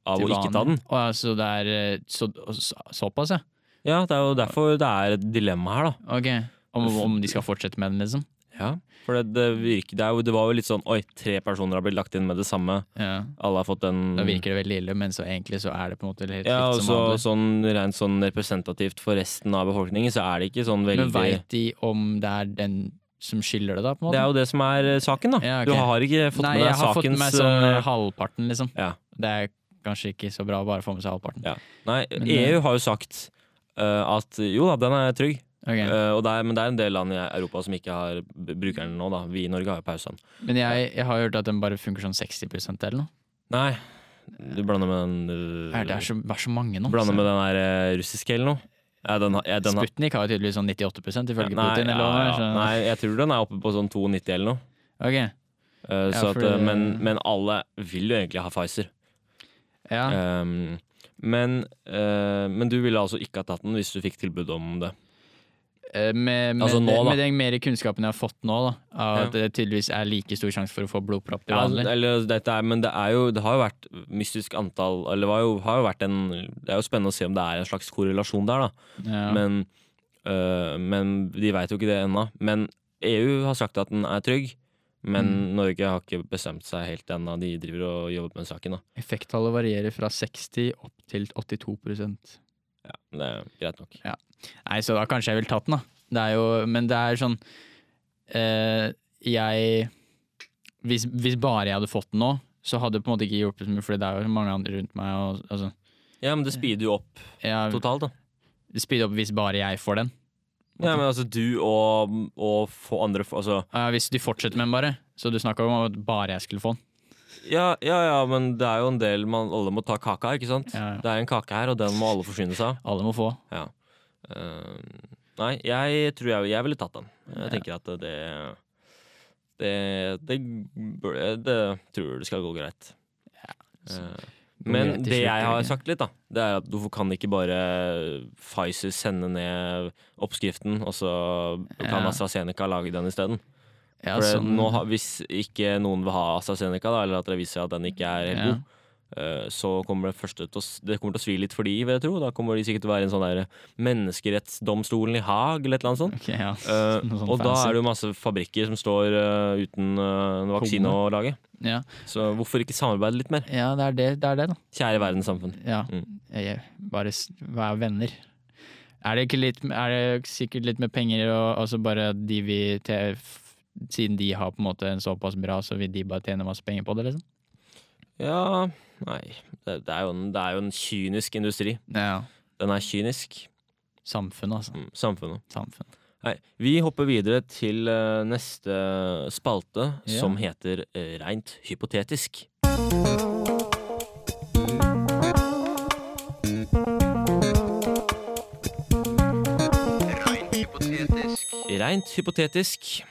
[SPEAKER 2] av
[SPEAKER 3] til
[SPEAKER 2] å ikke
[SPEAKER 3] vanlig.
[SPEAKER 2] ta den.
[SPEAKER 3] Å, ja, så det er eh, så, så, såpass, ja.
[SPEAKER 2] Ja, det er jo derfor det er et dilemma her, da.
[SPEAKER 3] Ok. Om, om de skal fortsette med den, liksom.
[SPEAKER 2] Ja. For det, det, virker, det, er jo, det var jo litt sånn Oi, tre personer har blitt lagt inn med det samme.
[SPEAKER 3] Ja.
[SPEAKER 2] Alle har fått den
[SPEAKER 3] Da virker det veldig ille, men så egentlig så er det på en måte
[SPEAKER 2] Mm.
[SPEAKER 3] helt
[SPEAKER 2] ja,
[SPEAKER 3] likt
[SPEAKER 2] og
[SPEAKER 3] som
[SPEAKER 2] så
[SPEAKER 3] vanlig.
[SPEAKER 2] sånn, rent sånn representativt for resten av befolkningen, så er det ikke sånn veldig
[SPEAKER 3] Men veit de om det er den som skylder det, da? på en
[SPEAKER 2] Det
[SPEAKER 3] måte?
[SPEAKER 2] er jo det som er eh, saken, da.
[SPEAKER 3] Ja, ok.
[SPEAKER 2] Du har ikke fått
[SPEAKER 3] Nei,
[SPEAKER 2] med
[SPEAKER 3] jeg
[SPEAKER 2] deg
[SPEAKER 3] har fått
[SPEAKER 2] sakens
[SPEAKER 3] med meg sånn eh,
[SPEAKER 2] eh,
[SPEAKER 3] halvparten, liksom.
[SPEAKER 2] Ja.
[SPEAKER 3] Det er kanskje ikke så bra å bare få med seg halvparten.
[SPEAKER 2] Ja. Nei,
[SPEAKER 3] Men,
[SPEAKER 2] EU har jo sagt eh, at jo da, den er trygg.
[SPEAKER 3] Ok.
[SPEAKER 2] Eh, og det er, men det er en del land i Europa som ikke har b- brukeren nå, da. Vi i Norge har jo pausen.
[SPEAKER 3] Men jeg, jeg har hørt at den bare funker sånn 60 eller noe.
[SPEAKER 2] Nei, du blander med den eh,
[SPEAKER 3] Er det er så, det er så mange nå.
[SPEAKER 2] Blander
[SPEAKER 3] så-
[SPEAKER 2] med den der eh, russiske eller noe. Ja, den, har- ja, den har-
[SPEAKER 3] Sputnik har jo tydeligvis sånn 98 ifølge
[SPEAKER 2] nei,
[SPEAKER 3] Putin. eller
[SPEAKER 2] ja,
[SPEAKER 3] hva det er,
[SPEAKER 2] ja.
[SPEAKER 3] så-
[SPEAKER 2] nei, jeg tror den er oppe på sånn 92 eller noe.
[SPEAKER 3] Ok.
[SPEAKER 2] Eh,
[SPEAKER 3] Ja,
[SPEAKER 2] så at,
[SPEAKER 3] for-
[SPEAKER 2] eh, men, men alle vil jo egentlig ha Pfizer.
[SPEAKER 3] Ja.
[SPEAKER 2] Ehm, men, eh, men du ville altså ikke ha tatt den hvis du fikk tilbud om det.
[SPEAKER 3] Eh, Med, med,
[SPEAKER 2] Altså nå, da.
[SPEAKER 3] med den mer kunnskapen jeg har fått nå, da, av
[SPEAKER 2] Ja.
[SPEAKER 3] at det tydeligvis er like stor sjanse for å få blodpropp til
[SPEAKER 2] Ja,
[SPEAKER 3] vanlig.
[SPEAKER 2] eller, dette er, men det, er jo, det har jo vært mystisk antall Eller det, var jo, har jo vært en, det er jo spennende å se om det er en slags korrelasjon der, da.
[SPEAKER 3] Ja.
[SPEAKER 2] Men, øh, men de veit jo ikke det ennå. Men EU har sagt at den er trygg. Men
[SPEAKER 3] Mm.
[SPEAKER 2] Norge har ikke bestemt seg helt ennå. De driver og jobber med saken. da
[SPEAKER 3] Effekttallet varierer fra 60 opp til 82
[SPEAKER 2] ja, men Det er greit nok.
[SPEAKER 3] Nei, så da kanskje jeg vil tatt den, da. Det er jo, men det er sånn eh, Jeg hvis, hvis bare jeg hadde fått den nå, så hadde det på en måte ikke hjulpet så mye, for det er jo mange andre rundt meg. Og, altså,
[SPEAKER 2] Ja, men det speeder jo opp
[SPEAKER 3] jeg,
[SPEAKER 2] totalt, da.
[SPEAKER 3] speed opp hvis bare jeg får den.
[SPEAKER 2] Ja, men altså du og, og få andre altså,
[SPEAKER 3] Ja, hvis de fortsetter med den bare. Så du snakka om at bare jeg skulle få den.
[SPEAKER 2] ja, ja, ja, men det er jo en del man alle må ta kaka, ikke sant?
[SPEAKER 3] Ja, ja.
[SPEAKER 2] Det er en kake her, og den må alle forsyne seg av.
[SPEAKER 3] Alle må få.
[SPEAKER 2] Ja. Eh, nei, jeg tror jeg, jeg ville tatt den. Jeg
[SPEAKER 3] Ja.
[SPEAKER 2] tenker at det det, det bør- det tror jeg det skal gå greit.
[SPEAKER 3] så-
[SPEAKER 2] Eh,
[SPEAKER 3] går
[SPEAKER 2] men
[SPEAKER 3] greit til
[SPEAKER 2] det
[SPEAKER 3] slutt,
[SPEAKER 2] jeg
[SPEAKER 3] gjør
[SPEAKER 2] har
[SPEAKER 3] det ikke?
[SPEAKER 2] sagt litt, da, det er at hvorfor kan ikke bare Pfizer sende ned oppskriften, og så kan
[SPEAKER 3] Ja.
[SPEAKER 2] AstraZeneca lage den isteden?
[SPEAKER 3] Ja,
[SPEAKER 2] For det-
[SPEAKER 3] sånn-
[SPEAKER 2] nå har- hvis ikke noen vil ha AstraZeneca, da, eller at det viser seg at den ikke er helt
[SPEAKER 3] Ja.
[SPEAKER 2] god, eh, så kommer det første til å, s- det kommer til å svi litt for de, vil jeg tro. Da kommer de sikkert til å være i en sånn der menneskerettsdomstolen i Haag, eller et eller annet sånt.
[SPEAKER 3] Ok, ja.
[SPEAKER 2] Eh,
[SPEAKER 3] Noe sånn
[SPEAKER 2] og da
[SPEAKER 3] fancy.
[SPEAKER 2] er det jo masse fabrikker som står eh, uten eh, en vaksine
[SPEAKER 3] Tomme.
[SPEAKER 2] å lage.
[SPEAKER 3] ja.
[SPEAKER 2] Så hvorfor ikke samarbeide litt mer?
[SPEAKER 3] ja, det er det, det er det, da.
[SPEAKER 2] Kjære verdenssamfunn.
[SPEAKER 3] Ja.
[SPEAKER 2] Mm.
[SPEAKER 3] Jeg, jeg- bare s- vær venner. Er det, ikke litt, er det sikkert litt med penger og altså bare at de vi te- f- Siden de har på en måte en såpass bra, så vil de bare tjene masse penger på det, liksom?
[SPEAKER 2] Ja, nei. Det, det, er, jo en, det er jo en kynisk industri. Den er kynisk.
[SPEAKER 3] Samfunn, altså.
[SPEAKER 2] Mm, Samfunnet.
[SPEAKER 3] Samfunn.
[SPEAKER 2] Nei, vi hopper videre til eh, neste spalte,
[SPEAKER 3] Ja.
[SPEAKER 2] som heter eh, Reint hypotetisk. Reint hypotetisk.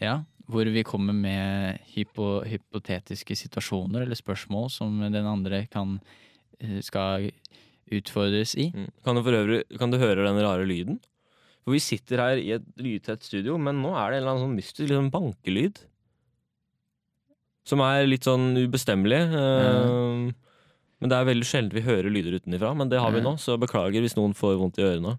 [SPEAKER 3] Ja, hvor vi kommer med hypo, hypotetiske situasjoner eller spørsmål som den andre kan eh, skal utfordres i.
[SPEAKER 2] Mm. Kan du for øvrig kan du høre den rare lyden? For vi sitter her i et lydtett studio, men nå er det en eller annen sånn mystisk liksom bankelyd. Som er litt sånn ubestemmelig. eh, Men det er veldig sjelden vi hører lyder utenifra, men det har vi
[SPEAKER 3] Ja.
[SPEAKER 2] nå, så beklager hvis noen får vondt i ørene.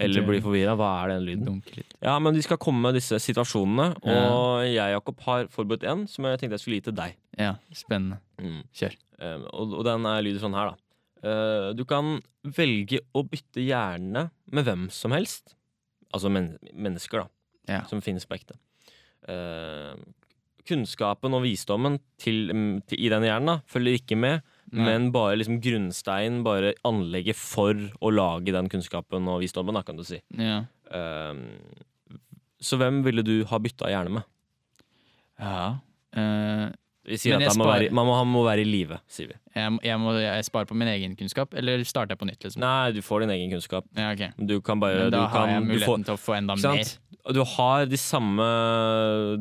[SPEAKER 2] Eller blir forvirra. Hva er den lyden?
[SPEAKER 3] Dunke litt.
[SPEAKER 2] Ja, men vi skal komme med disse situasjonene,
[SPEAKER 3] Ja.
[SPEAKER 2] og jeg, Jakob, har forberedt en som jeg tenkte jeg skulle gi til deg.
[SPEAKER 3] Ja, spennende.
[SPEAKER 2] Mm.
[SPEAKER 3] Kjør.
[SPEAKER 2] Um, og, og den er lyder sånn her, da. Eh, du kan velge å bytte hjerne med hvem som helst. Altså men mennesker, da.
[SPEAKER 3] Ja.
[SPEAKER 2] Som finnes på ekte. Eh, kunnskapen og visdommen til, mm, til, i den hjernen da, følger ikke med,
[SPEAKER 3] Nei.
[SPEAKER 2] men bare liksom grunnstein, bare anlegget for å lage den kunnskapen og visdommen, da, kan du si.
[SPEAKER 3] Ja.
[SPEAKER 2] Eh, så hvem ville du ha bytta hjerne med?
[SPEAKER 3] ja. Eh,
[SPEAKER 2] Vi sier
[SPEAKER 3] Men
[SPEAKER 2] at
[SPEAKER 3] jeg
[SPEAKER 2] han må,
[SPEAKER 3] spar-
[SPEAKER 2] være, i- man må, han må være i live, sier vi.
[SPEAKER 3] jeg, må- jeg må jeg spare på min egen kunnskap, eller starter jeg på nytt, liksom?
[SPEAKER 2] Nei, du får din egen kunnskap.
[SPEAKER 3] Ja, ok.
[SPEAKER 2] Du kan bare
[SPEAKER 3] Men da
[SPEAKER 2] du
[SPEAKER 3] har
[SPEAKER 2] kan,
[SPEAKER 3] jeg
[SPEAKER 2] du får,
[SPEAKER 3] muligheten til å få enda
[SPEAKER 2] Ikke
[SPEAKER 3] mer.
[SPEAKER 2] sant? Du har de samme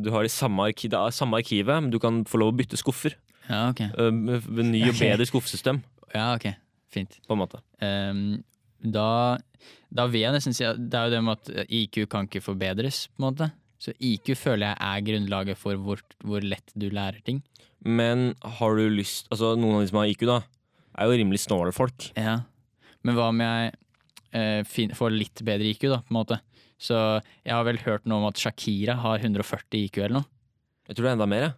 [SPEAKER 2] Du har de samme, arki, det er samme arkivet, men du kan få lov å bytte skuffer.
[SPEAKER 3] Ja, ok.
[SPEAKER 2] øh, Med med ny og
[SPEAKER 3] Ok.
[SPEAKER 2] bedre skuffesystem,
[SPEAKER 3] Ja, ok. Fint.
[SPEAKER 2] på en måte.
[SPEAKER 3] Ehm, da, da vil jeg nesten si at det er jo det med at IQ kan ikke forbedres, på en måte. Så IQ føler jeg er grunnlaget for hvor, hvor lett du lærer ting.
[SPEAKER 2] Men har du lyst Altså, noen av de som har IQ, da, er jo rimelig snåle folk.
[SPEAKER 3] Ja. Men hva om jeg eh, fin, får litt bedre IQ, da, på en måte. Så jeg har vel hørt noe om at Shakira har 140 IQ eller noe.
[SPEAKER 2] Jeg tror det er enda mer, jeg.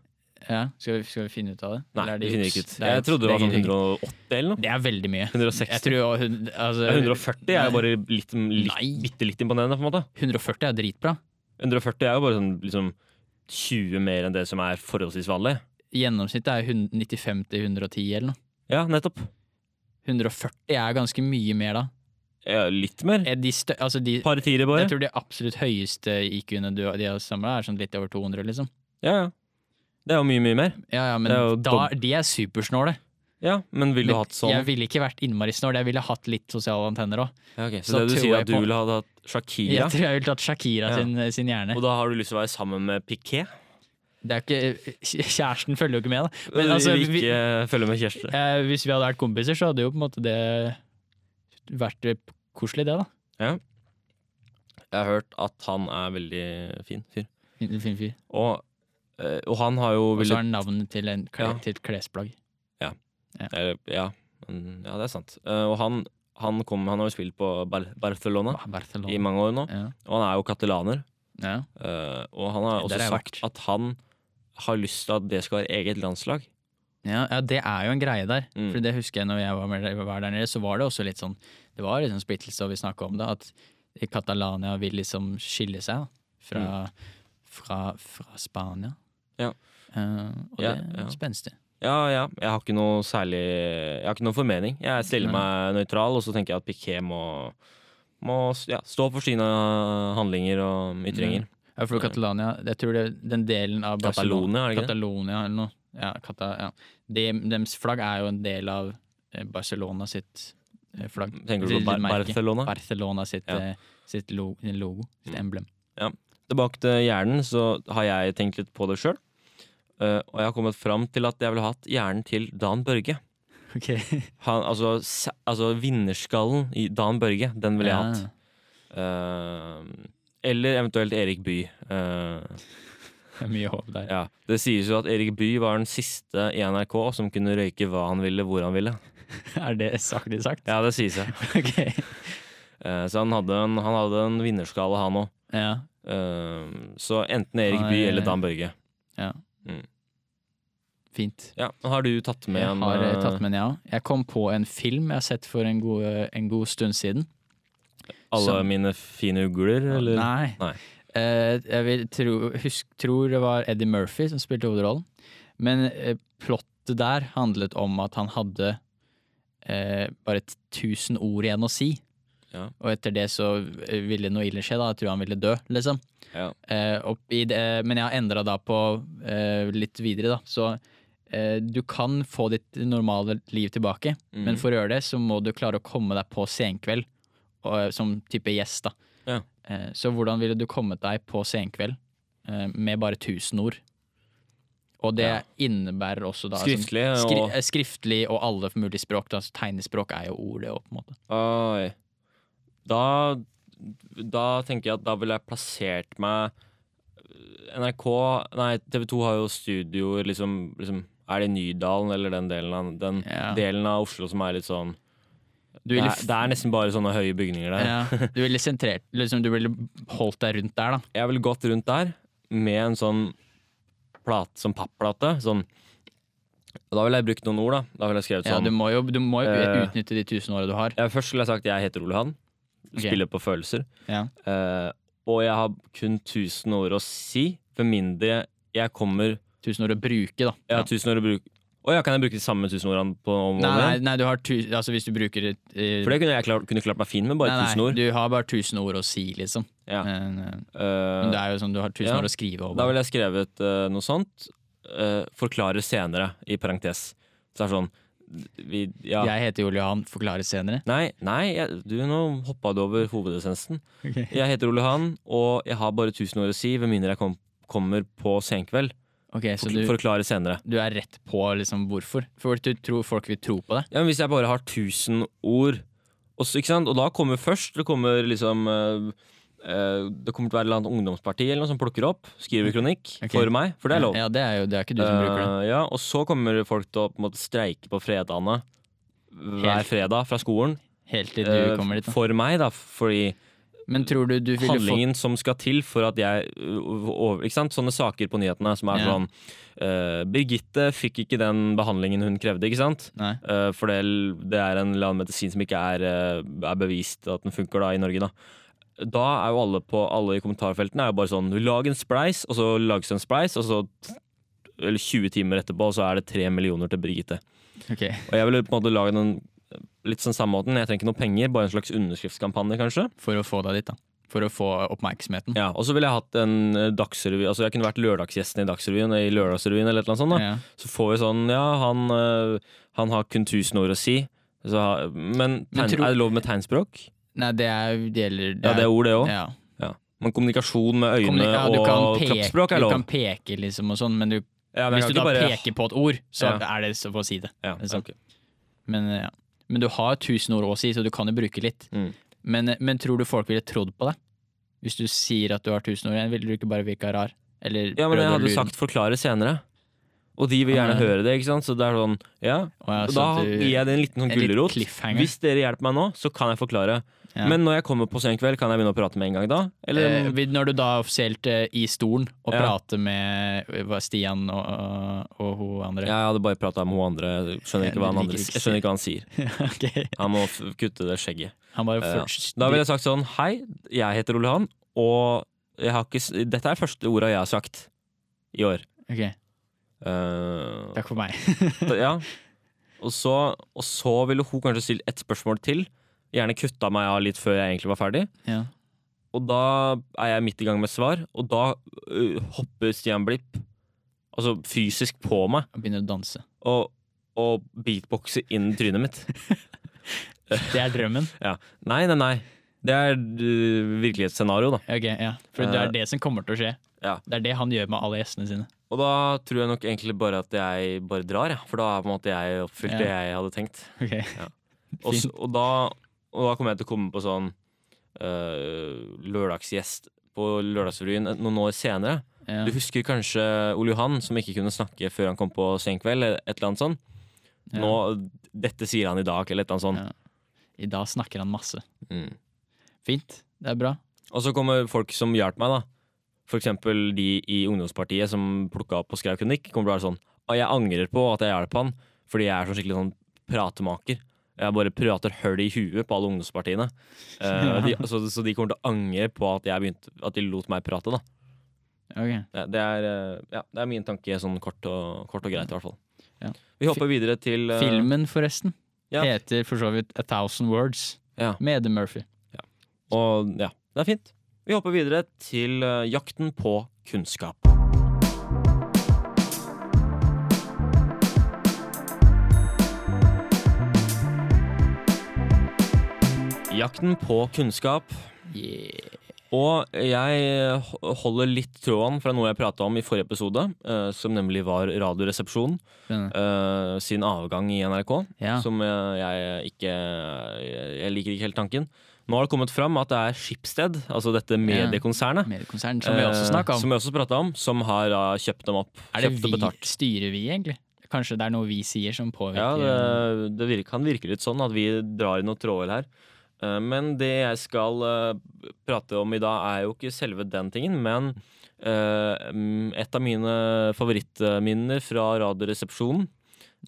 [SPEAKER 3] Ja, Skal vi, skal vi finne ut av det?
[SPEAKER 2] Nei,
[SPEAKER 3] Eller er
[SPEAKER 2] det
[SPEAKER 3] det
[SPEAKER 2] finner
[SPEAKER 3] juks?
[SPEAKER 2] ikke ut.
[SPEAKER 3] er
[SPEAKER 2] Jeg
[SPEAKER 3] juks.
[SPEAKER 2] trodde det var
[SPEAKER 3] er
[SPEAKER 2] sånn
[SPEAKER 3] ikke-
[SPEAKER 2] 180 eller noe.
[SPEAKER 3] Det er veldig mye.
[SPEAKER 2] 160.
[SPEAKER 3] Jeg tror, også hun- altså,
[SPEAKER 2] Ja, 140 er jo bare litt,
[SPEAKER 3] Nei.
[SPEAKER 2] litt, bitte litt imponerende, på en måte.
[SPEAKER 3] 140 er dritbra.
[SPEAKER 2] 140 er jo bare sånn liksom 20 mer enn det som er forholdsvis vanlig.
[SPEAKER 3] Gjennomsnittet er 100 95 til 110 eller noe.
[SPEAKER 2] Ja, nettopp.
[SPEAKER 3] 140 er ganske mye mer da.
[SPEAKER 2] Ja, litt mer.
[SPEAKER 3] Er de stø altså de,
[SPEAKER 2] Par tiere,
[SPEAKER 3] jeg
[SPEAKER 2] bare.
[SPEAKER 3] tror de absolutt høyeste IQ-ene du, de har samla, er sånn litt over 200, liksom.
[SPEAKER 2] Ja, ja. Det er jo mye, mye mer.
[SPEAKER 3] Ja, ja, men
[SPEAKER 2] Det er jo
[SPEAKER 3] da, de er supersnåle.
[SPEAKER 2] Ja, men ville du
[SPEAKER 3] Men
[SPEAKER 2] hatt sånn?
[SPEAKER 3] Jeg ville ikke vært innmari snål, jeg ville hatt litt sosiale antenner òg.
[SPEAKER 2] Ja, ok, Så,
[SPEAKER 3] Så
[SPEAKER 2] det du sier er
[SPEAKER 3] tror jeg
[SPEAKER 2] at du
[SPEAKER 3] på-
[SPEAKER 2] ville ha hatt Shakira,
[SPEAKER 3] Jeg tror jeg ville tatt Shakira
[SPEAKER 2] Ja.
[SPEAKER 3] sin, eh, sin hjerne.
[SPEAKER 2] og da har du lyst til å være sammen med Piquet?
[SPEAKER 3] Det er ikke, kjæresten følger jo ikke med, da. Men
[SPEAKER 2] Men
[SPEAKER 3] altså,
[SPEAKER 2] ikke
[SPEAKER 3] vi,
[SPEAKER 2] følge med kjæreste?
[SPEAKER 3] eh, hvis vi hadde vært kompiser, så hadde jo på en måte det vært eh, koselig, det, da.
[SPEAKER 2] Jeg har hørt at han er veldig fin fyr.
[SPEAKER 3] Fin, fin fyr.
[SPEAKER 2] Og, eh, og han har jo
[SPEAKER 3] Og så
[SPEAKER 2] ville
[SPEAKER 3] har han navnet til, en, kle,
[SPEAKER 2] Ja.
[SPEAKER 3] til et klesplagg.
[SPEAKER 2] eh, ja, men- ja, det er sant. Eh, og han, han, kom, han har jo spilt på Bar Barcelona
[SPEAKER 3] Ah, Barcelona.
[SPEAKER 2] i mange år nå,
[SPEAKER 3] Ja.
[SPEAKER 2] og han er jo katalaner.
[SPEAKER 3] Ja.
[SPEAKER 2] Eh, og han har
[SPEAKER 3] Der har
[SPEAKER 2] også
[SPEAKER 3] jeg
[SPEAKER 2] sagt
[SPEAKER 3] vært.
[SPEAKER 2] at han har lyst til at det skal være eget landslag.
[SPEAKER 3] Ja, ja, det er jo en greie der.
[SPEAKER 2] Mm.
[SPEAKER 3] For det husker jeg når jeg var, med, var der nede, så var det også litt sånn Det var liksom splittelse, og vi snakka om det, at Catalonia vil liksom skille seg da, fra, fra, fra Spania.
[SPEAKER 2] Mm. Ja.
[SPEAKER 3] Eh, og
[SPEAKER 2] Ja,
[SPEAKER 3] det er
[SPEAKER 2] ja.
[SPEAKER 3] spenstig.
[SPEAKER 2] Ja, ja. Jeg har ikke noe særlig Jeg har ikke noen formening. Jeg stiller meg nøytral, og så tenker jeg at Piquet må, må ja, stå for sine handlinger og ytringer.
[SPEAKER 3] Ja, for Catalonia Jeg tror det den delen av
[SPEAKER 2] Catalonia, er det ikke det?
[SPEAKER 3] Catalonia eller noe. Ja, Cata, ja. De, dems flagg er jo en del av eh, Barcelona sitt eh, flagg.
[SPEAKER 2] Tenker du på
[SPEAKER 3] Sitt
[SPEAKER 2] Bar
[SPEAKER 3] merke.
[SPEAKER 2] Barcelona?
[SPEAKER 3] Barcelona sitt,
[SPEAKER 2] Ja.
[SPEAKER 3] eh, sitt lo- logo, sitt
[SPEAKER 2] Mm.
[SPEAKER 3] emblem.
[SPEAKER 2] Tilbake til hjernen, så har jeg tenkt litt på det sjøl. og jeg har kommet fram til at jeg ville hatt hjernen til Dan Børge. Han, altså, se- altså vinnerskallen i Dan Børge, den ville jeg
[SPEAKER 3] Ja.
[SPEAKER 2] hatt. Eh, eller eventuelt Erik Bye. Eh,
[SPEAKER 3] Det er mye håp der.
[SPEAKER 2] Ja, Det sies jo at Erik Bye var den siste i NRK som kunne røyke hva han ville, hvor han ville.
[SPEAKER 3] Er det saklig sagt?
[SPEAKER 2] Ja, det sies jeg.
[SPEAKER 3] Ok.
[SPEAKER 2] Eh, Så han hadde en, han hadde en vinnerskala, han òg.
[SPEAKER 3] Ja.
[SPEAKER 2] Så enten Erik
[SPEAKER 3] Nei.
[SPEAKER 2] Bye eller Dan Børge.
[SPEAKER 3] Fint.
[SPEAKER 2] Ja, Har du tatt med
[SPEAKER 3] Jeg
[SPEAKER 2] en
[SPEAKER 3] har eh,
[SPEAKER 2] eh,
[SPEAKER 3] tatt med den, jeg òg. Jeg kom på en film jeg har sett for en god, eh, en god stund siden.
[SPEAKER 2] alle
[SPEAKER 3] som-
[SPEAKER 2] mine fine ugler, eller?
[SPEAKER 3] Nei.
[SPEAKER 2] Nei.
[SPEAKER 3] Eh, jeg vil tro, husk, tror det var Eddie Murphy som spilte hovedrollen. Men eh, plottet der handlet om at han hadde eh, bare t- 1000 ord igjen å si.
[SPEAKER 2] Ja.
[SPEAKER 3] Og etter det så eh, ville noe ille skje, da. Jeg tror han ville dø, liksom.
[SPEAKER 2] Ja.
[SPEAKER 3] Eh, og i det, men jeg har endra da på eh, litt videre, da. Så eh, du kan få ditt normale liv tilbake,
[SPEAKER 2] Mhm.
[SPEAKER 3] men for å gjøre det så må du klare å komme deg på senkveld og, eh, som type gjest, da.
[SPEAKER 2] Ja.
[SPEAKER 3] Eh, så hvordan ville du kommet deg på senkveld eh, med bare 1000 ord? Og det
[SPEAKER 2] Ja.
[SPEAKER 3] innebærer også da sånn-
[SPEAKER 2] Skriftlig
[SPEAKER 3] Skri
[SPEAKER 2] og
[SPEAKER 3] eh, skriftlig og alle mulige språk. Da. Så Tegnespråk er jo ord, det òg, på en måte.
[SPEAKER 2] Oi. Da, da tenker jeg at da ville jeg plassert meg eh, NRK Nei, TV 2 har jo studioer liksom, liksom Er det Nydalen eller den delen av, den
[SPEAKER 3] Ja.
[SPEAKER 2] delen av Oslo som er litt sånn
[SPEAKER 3] Du
[SPEAKER 2] det
[SPEAKER 3] ville,
[SPEAKER 2] er,
[SPEAKER 3] f-
[SPEAKER 2] det er nesten bare sånne høye bygninger der.
[SPEAKER 3] ja, du ville sentrert liksom, Du ville holdt deg rundt der, da.
[SPEAKER 2] Jeg ville gått rundt der med en sånn plate, sånn papplate. Sånn. Da ville jeg brukt noen ord, da. Da ville jeg skrevet
[SPEAKER 3] Ja,
[SPEAKER 2] sånn
[SPEAKER 3] du må jo, du må jo
[SPEAKER 2] Eh.
[SPEAKER 3] utnytte de tusen åra du har.
[SPEAKER 2] Ja, Først skulle jeg sagt jeg heter Ole Han.
[SPEAKER 3] Ok.
[SPEAKER 2] Spiller på følelser.
[SPEAKER 3] Ja.
[SPEAKER 2] Eh, og jeg har kun 1000 år å si, for mindre jeg kommer
[SPEAKER 3] Tusen år å bruke, da.
[SPEAKER 2] Jeg har 1000 år å bruke Å ja, kan jeg bruke de samme 1000 årene på om
[SPEAKER 3] Nei, nei,
[SPEAKER 2] igjen?
[SPEAKER 3] nei, du har tu, altså hvis du bruker et eh,
[SPEAKER 2] For det kunne jeg klar, kunne klart meg fin med, bare
[SPEAKER 3] nei,
[SPEAKER 2] 1000
[SPEAKER 3] nei,
[SPEAKER 2] ord.
[SPEAKER 3] Du har bare 1000 ord å si, liksom.
[SPEAKER 2] Ja.
[SPEAKER 3] Men, eh,
[SPEAKER 2] Eh,
[SPEAKER 3] men det er jo sånn, du har 1000
[SPEAKER 2] Ja.
[SPEAKER 3] år å skrive over.
[SPEAKER 2] da ville jeg skrevet eh, noe sånt. eh, forklarer senere, i parentes. Så det er sånn vi, ja.
[SPEAKER 3] Jeg heter Ole Johan, forklares senere.
[SPEAKER 2] Nei, nei jeg, du, nå hoppa du over hovedessensen. Jeg heter Ole Han, og jeg har bare 1000 år å si, med mindre jeg kom, kommer på senkveld.
[SPEAKER 3] Ok, Så
[SPEAKER 2] Forkl
[SPEAKER 3] du,
[SPEAKER 2] Forklare senere.
[SPEAKER 3] du er rett på liksom hvorfor? For du tror folk vil tro på det?
[SPEAKER 2] Ja, men hvis jeg bare har 1000 ord, og, så, ikke sant? og da kommer først Det kommer liksom eh, eh, Det kommer til å være et eller annet ungdomsparti eller noe som plukker opp, skriver kronikk
[SPEAKER 3] Mm. Ok.
[SPEAKER 2] for meg, for det er lov.
[SPEAKER 3] Ja, det er jo det er ikke du som bruker det.
[SPEAKER 2] Eh, ja, og så kommer folk til å på en måte streike på fredagene hver
[SPEAKER 3] Helt.
[SPEAKER 2] fredag fra skolen.
[SPEAKER 3] Helt til du
[SPEAKER 2] eh,
[SPEAKER 3] kommer dit. Da.
[SPEAKER 2] for meg, da, fordi
[SPEAKER 3] Men tror du du ville fått
[SPEAKER 2] handlingen som skal til for at jeg ø, over, Ikke sant? Sånne saker på nyhetene som er
[SPEAKER 3] Ja.
[SPEAKER 2] sånn ø, Birgitte fikk ikke den behandlingen hun krevde, ikke sant?
[SPEAKER 3] Nei.
[SPEAKER 2] Eh, for det, det er en eller annen medisin som ikke er, eh, er bevist at den funker da, i Norge. Da Da er jo alle på Alle i kommentarfeltene er jo bare sånn Lag en spleis, og så lages en spleis, og så eller 20 timer etterpå så er det 3 millioner til Birgitte.
[SPEAKER 3] Ok.
[SPEAKER 2] Og jeg ville på en måte lage den litt sånn samme måten. Jeg trenger ikke noe penger, bare en slags underskriftskampanje, kanskje.
[SPEAKER 3] For å få deg dit, da. For å få oppmerksomheten.
[SPEAKER 2] Ja, og så ville jeg hatt en eh, dagsrevy Altså jeg kunne vært lørdagsgjesten i Dagsrevyen I lørdagsrevyen eller et eller annet sånt da
[SPEAKER 3] Ja.
[SPEAKER 2] Så får vi sånn, ja, han, eh, han har kun tusen år å si så, ha- Men,
[SPEAKER 3] Men
[SPEAKER 2] tegn,
[SPEAKER 3] tro-
[SPEAKER 2] er det lov med tegnspråk?
[SPEAKER 3] Nei, det er det gjelder
[SPEAKER 2] Ja, det er ord det også
[SPEAKER 3] ja.
[SPEAKER 2] Men kommunikasjon med øyne
[SPEAKER 3] Kommuni- ja, du kan
[SPEAKER 2] og
[SPEAKER 3] peke,
[SPEAKER 2] kroppsspråk er
[SPEAKER 3] Du
[SPEAKER 2] lov
[SPEAKER 3] kan peke, liksom, og sånn, men du,
[SPEAKER 2] ja, men
[SPEAKER 3] hvis
[SPEAKER 2] jeg
[SPEAKER 3] du
[SPEAKER 2] kan
[SPEAKER 3] da
[SPEAKER 2] ikke bare-
[SPEAKER 3] peker på et ord, så
[SPEAKER 2] Ja.
[SPEAKER 3] er det så for å si det.
[SPEAKER 2] ja,
[SPEAKER 3] liksom.
[SPEAKER 2] ok.
[SPEAKER 3] Men, eh, ja. men du har tusen ord å si, så du kan jo bruke litt.
[SPEAKER 2] Mm.
[SPEAKER 3] Men, eh, men tror du folk ville trodd på deg? Hvis du sier at du har tusen ord igjen, ville du ikke bare virka rar? Eller
[SPEAKER 2] ja, men
[SPEAKER 3] prøvd
[SPEAKER 2] jeg
[SPEAKER 3] å
[SPEAKER 2] hadde
[SPEAKER 3] lure
[SPEAKER 2] sagt forklare senere Og de vil
[SPEAKER 3] Ja,
[SPEAKER 2] gjerne
[SPEAKER 3] men-
[SPEAKER 2] høre det, ikke sant? Så det er sånn, ja
[SPEAKER 3] Og ja,
[SPEAKER 2] Og Da
[SPEAKER 3] så at du-
[SPEAKER 2] gir jeg det en liten sånn
[SPEAKER 3] en liten
[SPEAKER 2] gullerot.
[SPEAKER 3] cliffhanger.
[SPEAKER 2] Hvis dere hjelper meg nå, så kan jeg forklare.
[SPEAKER 3] Ja.
[SPEAKER 2] Men når jeg kommer på sen kveld, kan jeg begynne å prate med en gang da? Eller
[SPEAKER 3] Eh, vil- når du da offisielt eh, i stolen og
[SPEAKER 2] Ja.
[SPEAKER 3] prater med eh, hva, Stian og, og, og hun andre
[SPEAKER 2] Ja, jeg hadde bare prata med hun andre. Jeg Skjønner ikke hva han, andre, jeg skjønner ikke hva han sier.
[SPEAKER 3] Ok.
[SPEAKER 2] Han må f kutte det skjegget.
[SPEAKER 3] Han bare
[SPEAKER 2] Ja.
[SPEAKER 3] først-
[SPEAKER 2] Da ville jeg sagt sånn Hei, jeg heter Ole Han, og jeg har ikke, s- dette er første orda jeg har sagt i år.
[SPEAKER 3] Ok,
[SPEAKER 2] Eh,
[SPEAKER 3] Takk for meg.
[SPEAKER 2] ja. og, så, og så ville hun kanskje stilt ett spørsmål til. Gjerne kutta meg av litt før jeg egentlig var ferdig.
[SPEAKER 3] Ja.
[SPEAKER 2] Og da er jeg midt i gang med svar, og da ø, hopper Stian Blipp altså fysisk på meg.
[SPEAKER 3] Og begynner å danse.
[SPEAKER 2] og, og beatboxe inn trynet mitt.
[SPEAKER 3] Det er drømmen.
[SPEAKER 2] Nei, nei, nei. Det er uh, virkelighetsscenario, da.
[SPEAKER 3] Ok, ja. For det er det som kommer til å skje.
[SPEAKER 2] Eh, Ja.
[SPEAKER 3] Det er det han gjør med alle gjestene sine.
[SPEAKER 2] Og da tror jeg nok egentlig bare at jeg bare drar, jeg. For da har på en måte jeg oppfylt
[SPEAKER 3] Ja.
[SPEAKER 2] det jeg hadde tenkt.
[SPEAKER 3] Ok.
[SPEAKER 2] Og, s-
[SPEAKER 3] Fint.
[SPEAKER 2] og, da, og da kommer jeg til å komme på sånn øh, lørdagsgjest på Lørdagsrevyen noen år senere.
[SPEAKER 3] Ja.
[SPEAKER 2] Du husker kanskje Ole Johan, som ikke kunne snakke før han kom på Senkveld, eller et eller annet sånt.
[SPEAKER 3] Ja.
[SPEAKER 2] Nå, dette sier han i dag, eller et eller annet sånt.
[SPEAKER 3] I dag snakker han masse.
[SPEAKER 2] Mm.
[SPEAKER 3] Fint. Det er bra.
[SPEAKER 2] Og så kommer folk som hjalp meg, da. For eksempel de i ungdomspartiet som plukka opp og skrev kronikk. Kommer til å være sånn «Å, Jeg angrer på at jeg hjalp han, fordi jeg er sånn skikkelig sånn pratemaker. Jeg bare prater høl i huet på alle ungdomspartiene. Eh, de, så, så de kommer til å angre på at, jeg begynte, at de lot meg prate, da.
[SPEAKER 3] Ok.
[SPEAKER 2] Det, det, er, eh, ja, det er min tanke, sånn kort og, kort og greit, i hvert fall.
[SPEAKER 3] Ja.
[SPEAKER 2] Vi hopper videre til eh,
[SPEAKER 3] Filmen, forresten.
[SPEAKER 2] Ja.
[SPEAKER 3] heter for så vidt A Thousand Words
[SPEAKER 2] Ja.
[SPEAKER 3] med Eddie Murphy.
[SPEAKER 2] Og ja, det er fint. Vi hopper videre til eh, jakten på kunnskap. Jakten på kunnskap. Og jeg ho- holder litt tråden fra noe jeg prata om i forrige episode, eh, som nemlig var Radioresepsjonen
[SPEAKER 3] Spennende.
[SPEAKER 2] eh, sin avgang i NRK
[SPEAKER 3] Ja.
[SPEAKER 2] som eh, jeg ikke Jeg liker ikke helt tanken. Nå har det kommet fram at det er Schibsted, altså dette mediekonsernet,
[SPEAKER 3] Mediekonsern, som vi
[SPEAKER 2] eh,
[SPEAKER 3] også snakka om.
[SPEAKER 2] som vi også pratet om, som har da kjøpt dem opp.
[SPEAKER 3] Er det
[SPEAKER 2] kjøpt
[SPEAKER 3] vi,
[SPEAKER 2] og betalt.
[SPEAKER 3] styrer vi, egentlig? Kanskje det er noe vi sier som
[SPEAKER 2] Ja,
[SPEAKER 3] påvirker
[SPEAKER 2] det, det virker, kan virke litt sånn at vi drar i noen tråder her. Eh, Men det jeg skal eh, prate om i dag, er jo ikke selve den tingen, men eh, mm, et av mine favorittminner fra Radioresepsjonen.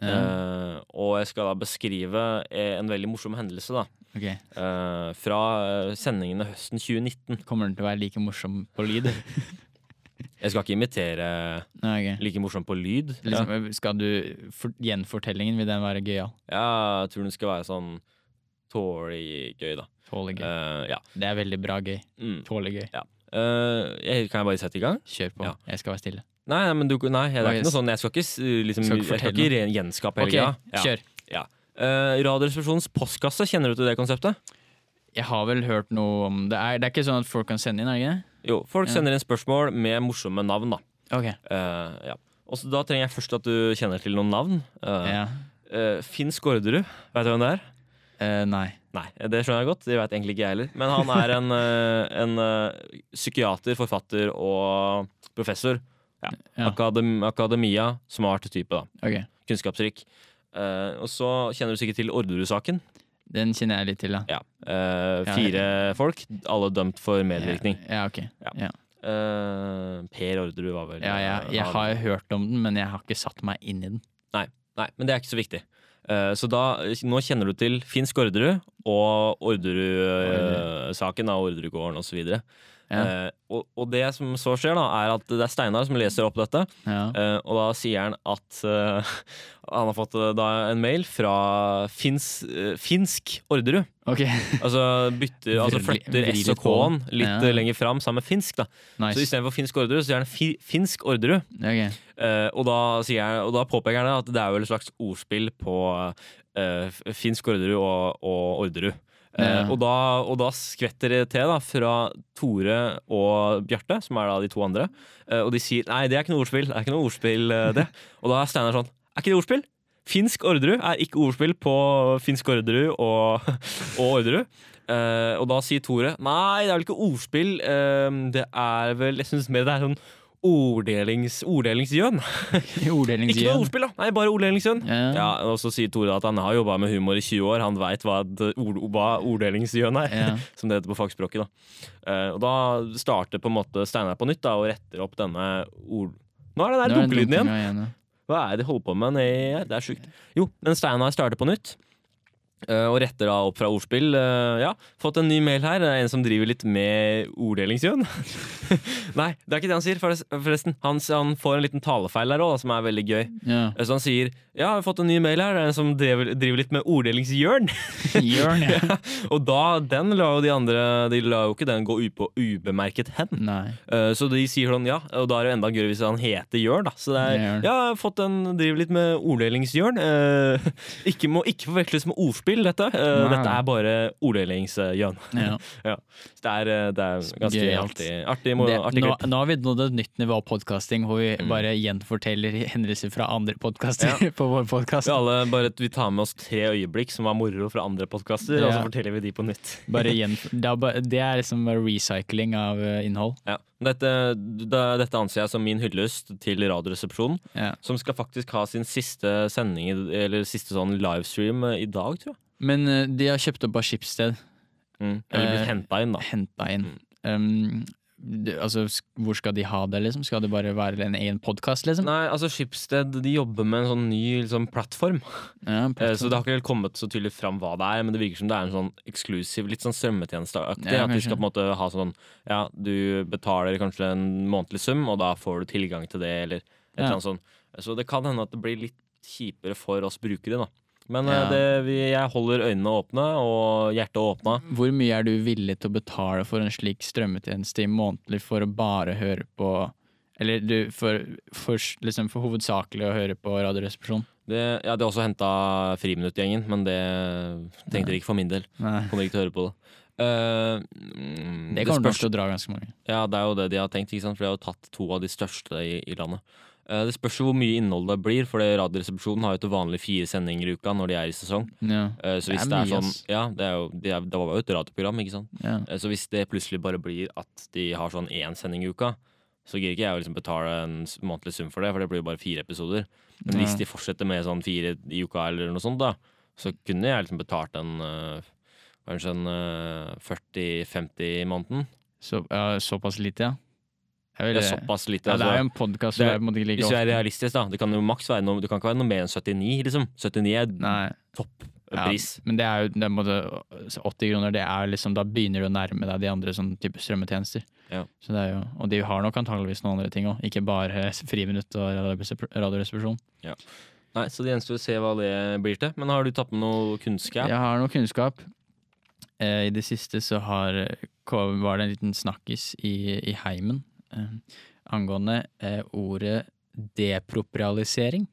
[SPEAKER 3] Ja,
[SPEAKER 2] Eh, og jeg skal da beskrive eh, en veldig morsom hendelse, da.
[SPEAKER 3] ok.
[SPEAKER 2] Eh, fra eh, sendingene høsten 2019.
[SPEAKER 3] Kommer den til å være like morsom på lyd?
[SPEAKER 2] Jeg skal ikke imitere
[SPEAKER 3] Nei, ok.
[SPEAKER 2] like morsom på lyd. Ja.
[SPEAKER 3] Liksom, skal du, for, gjenfortellingen, vil den være gøyal?
[SPEAKER 2] jeg tror den skal være sånn tålig gøy, da.
[SPEAKER 3] Tåle gøy.
[SPEAKER 2] Eh, ja.
[SPEAKER 3] Det er veldig bra gøy.
[SPEAKER 2] Mm.
[SPEAKER 3] Tåle gøy.
[SPEAKER 2] Eh, jeg, kan jeg bare sette i gang?
[SPEAKER 3] Kjør på.
[SPEAKER 2] Ja.
[SPEAKER 3] Jeg skal være stille.
[SPEAKER 2] Nei, nei, men du, nei det er
[SPEAKER 3] Hva er
[SPEAKER 2] ikke noe sånn. Jeg skal ikke, s- liksom,
[SPEAKER 3] Skal ikke
[SPEAKER 2] jeg skal
[SPEAKER 3] fortelle
[SPEAKER 2] ikke ren- gjenskape
[SPEAKER 3] Ok,
[SPEAKER 2] hele greia. Ja.
[SPEAKER 3] kjør.
[SPEAKER 2] Eh, Radioresepsjonens postkasse, kjenner du til det konseptet?
[SPEAKER 3] Jeg har vel hørt noe om det. Er, det er ikke sånn at folk kan sende inn, er det
[SPEAKER 2] Jo, folk
[SPEAKER 3] Ja.
[SPEAKER 2] sender inn spørsmål med morsomme navn, da.
[SPEAKER 3] ikke? det?
[SPEAKER 2] Eh, ja. Og så Da trenger jeg først at du kjenner til noen navn.
[SPEAKER 3] Ok.
[SPEAKER 2] Eh,
[SPEAKER 3] Ja.
[SPEAKER 2] eh, Finn Skårderud, vet du hvem det er?
[SPEAKER 3] Eh, nei.
[SPEAKER 2] Nei, det skjønner jeg godt. Det vet egentlig ikke jeg heller. Men han er en, eh, en eh, psykiater, forfatter og professor. Ja.
[SPEAKER 3] Ja.
[SPEAKER 2] Akadem akademia, smart type, da.
[SPEAKER 3] Ok.
[SPEAKER 2] Kunnskapsrik. Eh, og så kjenner du sikkert til Orderud-saken.
[SPEAKER 3] Den kjenner jeg litt til, da.
[SPEAKER 2] Ja. Eh,
[SPEAKER 3] Ja.
[SPEAKER 2] fire folk, alle dømt for medvirkning.
[SPEAKER 3] Ja, ok.
[SPEAKER 2] Eh, per Orderud var vel eh,
[SPEAKER 3] Ja, jeg, jeg har hørt om den, men jeg har ikke satt meg inn i den.
[SPEAKER 2] Nei, men det er ikke så viktig. Eh, så da, nå kjenner du til Finsk Orderud og Orderud-saken av Orderudgården osv. videre
[SPEAKER 3] Ja.
[SPEAKER 2] Eh, og, og det som så skjer, da, er at det er Steinar som leser opp dette.
[SPEAKER 3] Ja.
[SPEAKER 2] eh, og da sier han at eh, han har fått eh, da en mail fra Fins, eh, Finsk Orderud.
[SPEAKER 3] Ok,
[SPEAKER 2] Altså, bytter, altså
[SPEAKER 3] Vri-
[SPEAKER 2] flytter
[SPEAKER 3] vri
[SPEAKER 2] S
[SPEAKER 3] litt
[SPEAKER 2] og K-en
[SPEAKER 3] på den.
[SPEAKER 2] litt
[SPEAKER 3] Ja.
[SPEAKER 2] eh, lenger fram sammen med finsk. da Så
[SPEAKER 3] nice.
[SPEAKER 2] istedenfor Finsk Orderud, så sier han fi, Finsk Orderud.
[SPEAKER 3] Ok.
[SPEAKER 2] Eh, og, da sier jeg, og da påpeker han at det er vel et slags ordspill på eh, f- finsk Orderud og, og Orderud. Eh,
[SPEAKER 3] Ja.
[SPEAKER 2] og, da, og da skvetter det til da, fra Tore og Bjarte, som er da de to andre. Eh, og de sier nei, det er ikke noe ordspill. Det er ikke noe ordspill eh, det. og da er Steinar sånn er ikke det ordspill? Finsk Orderud er ikke ordspill på finsk Orderud og, og Orderud. Eh, og da sier Tore nei, det er vel ikke ordspill. eh, det er vel Jeg syns mer det er sånn orddelings, orddelingsgjøn. Ikke noe
[SPEAKER 3] Orddelingsgjøn.
[SPEAKER 2] ordspill, da! Nei, bare orddelingsgjøn.
[SPEAKER 3] Ja.
[SPEAKER 2] Ja, og så sier Tore at han har jobba med humor i 20 år. Han veit hva, et ord, hva orddelingsgjøn er,
[SPEAKER 3] Ja.
[SPEAKER 2] som det heter på fagspråket. Da. Eh, og da starter på en måte Steinar på nytt da, og retter opp denne ord... Nå er det der
[SPEAKER 3] Nå er det
[SPEAKER 2] dunkelyden igjen!
[SPEAKER 3] dunklinga igjen, ja.
[SPEAKER 2] Hva er det de holder på med? nedi her? det er sjukt. Jo, men Steinar starter på nytt. eh, Og retter da opp fra ordspill. Eh, Ja, Fått en ny mail her. En som driver litt med orddelingsjøen. Nei, det er ikke det han sier, forres- forresten. Han, s- han får en liten talefeil der òg, som er veldig gøy.
[SPEAKER 3] Ja.
[SPEAKER 2] Eh, Så han sier ja, jeg har fått en ny mail her. Det er en som driver, driver litt med orddelingsjørn.
[SPEAKER 3] Jørn, ja.
[SPEAKER 2] Og da, den la jo de andre De la jo ikke den gå upå, ubemerket hen.
[SPEAKER 3] Nei.
[SPEAKER 2] Eh, Så de sier sånn, ja, og da er det jo enda gøyere hvis han heter Jørn, da. Så det er,
[SPEAKER 3] Jørn.
[SPEAKER 2] ja, jeg har fått en, driver litt med orddelingsjørn. Eh, ikke må ikke forveksles med ordspill, dette. Eh,
[SPEAKER 3] Nei.
[SPEAKER 2] dette er bare orddelingsjørn.
[SPEAKER 3] Ja.
[SPEAKER 2] Så det er, eh, det er ganske
[SPEAKER 3] Gøyalt.
[SPEAKER 2] artig. Artig, mo-
[SPEAKER 3] Det,
[SPEAKER 2] artig
[SPEAKER 3] nå,
[SPEAKER 2] klipp.
[SPEAKER 3] nå har vi nådd et nytt nivå av podkasting, hvor vi
[SPEAKER 2] Mm.
[SPEAKER 3] bare gjenforteller hendelser fra andre podkaster på vår podkast.
[SPEAKER 2] Vi, alle bare, vi tar med oss tre øyeblikk som var moro fra andre podkaster, og så
[SPEAKER 3] Ja.
[SPEAKER 2] forteller vi de på nytt.
[SPEAKER 3] Bare gjenf- det er ba- det er liksom bare recycling av eh, innhold.
[SPEAKER 2] Ja. Dette, da- dette anser jeg som min hyllest til Radioresepsjonen,
[SPEAKER 3] Ja.
[SPEAKER 2] som skal faktisk ha sin siste sending, i- eller siste sånn livestream eh, i dag, tror jeg.
[SPEAKER 3] Men eh, de har kjøpt opp av Schibsted,
[SPEAKER 2] Mm. Eller
[SPEAKER 3] Eh,
[SPEAKER 2] blitt henta inn, da.
[SPEAKER 3] henta inn. Um, det, altså, sk- hvor skal de ha det, liksom? Skal det bare være en egen podkast, liksom?
[SPEAKER 2] Nei, altså Schibsted de jobber med en sånn ny liksom, plattform.
[SPEAKER 3] Ja,
[SPEAKER 2] Eh, så
[SPEAKER 3] podkast.
[SPEAKER 2] det har ikke helt kommet så tydelig fram hva det er, men det virker som det er en sånn eksklusiv, litt sånn strømmetjenesteaktig.
[SPEAKER 3] Ja,
[SPEAKER 2] at du
[SPEAKER 3] kanskje.
[SPEAKER 2] skal på en måte ha sånn Ja, du betaler kanskje en månedlig sum, og da får du tilgang til det, eller et
[SPEAKER 3] Ja.
[SPEAKER 2] eller annet sånt. Så det kan hende at det blir litt kjipere for oss brukere, da. Men
[SPEAKER 3] Ja.
[SPEAKER 2] eh, det, vi, jeg holder øynene åpne og hjertet åpna.
[SPEAKER 3] Hvor mye er du villig til å betale for en slik strømmetjeneste i månedlig for å bare høre på Eller du, for, for, liksom for hovedsakelig å høre på Radioresepsjonen?
[SPEAKER 2] Det, jeg hadde også henta Friminutt-gjengen, men det tenkte dere ikke for min del.
[SPEAKER 3] Nei.
[SPEAKER 2] Kommer ikke til å høre på det. Eh, mm,
[SPEAKER 3] Det kommer nok
[SPEAKER 2] spørs-
[SPEAKER 3] til å dra ganske mange.
[SPEAKER 2] Ja, det er jo det de har tenkt, ikke sant? for de har jo tatt to av de største i, i landet. Eh, Det spørs jo hvor mye innhold det blir, for det Radioresepsjonen har jo til vanlig fire sendinger i uka når de er i sesong.
[SPEAKER 3] Ja,
[SPEAKER 2] Eh, Så
[SPEAKER 3] Det
[SPEAKER 2] hvis
[SPEAKER 3] er
[SPEAKER 2] det er,
[SPEAKER 3] mye,
[SPEAKER 2] sånn
[SPEAKER 3] ass.
[SPEAKER 2] Ja, det, er jo, det, er, det var jo et radioprogram, ikke sant.
[SPEAKER 3] ja.
[SPEAKER 2] Eh, Så hvis det plutselig bare blir at de har sånn én sending i uka, så gir ikke jeg å liksom betale en s- månedlig sum for det, for det blir jo bare fire episoder. Men
[SPEAKER 3] Ja.
[SPEAKER 2] hvis de fortsetter med sånn fire i uka eller noe sånt, da, så kunne jeg liksom betalt en eh, Kanskje en eh, 40-50 i måneden.
[SPEAKER 3] Så, ja såpass lite, ja. Jeg vil-
[SPEAKER 2] Det er såpass lite.
[SPEAKER 3] ja, det
[SPEAKER 2] altså.
[SPEAKER 3] er jo en podkast
[SPEAKER 2] det
[SPEAKER 3] som
[SPEAKER 2] er-
[SPEAKER 3] er på en måte ikke like
[SPEAKER 2] Hvis du er
[SPEAKER 3] ofte.
[SPEAKER 2] realistisk, da. Det kan jo maks være noe, det kan ikke være noe mer enn 79, liksom. 79 er
[SPEAKER 3] Nei, ja,
[SPEAKER 2] pris.
[SPEAKER 3] men det er jo det er på en måte, 80 kroner, det er liksom, da begynner du å nærme deg de andre sånn type strømmetjenester.
[SPEAKER 2] Ja.
[SPEAKER 3] Så det er jo, og de har nok antageligvis noen andre ting òg, ikke bare friminutt og radioresep- radioresepsjon.
[SPEAKER 2] Nei, så det gjenstår å se hva det blir til. Men har du tatt med noe kunnskap?
[SPEAKER 3] Jeg har noe kunnskap. Eh, I det siste så har, kom- var det en liten snakkis i, i heimen eh, angående eh, ordet deproprialisering.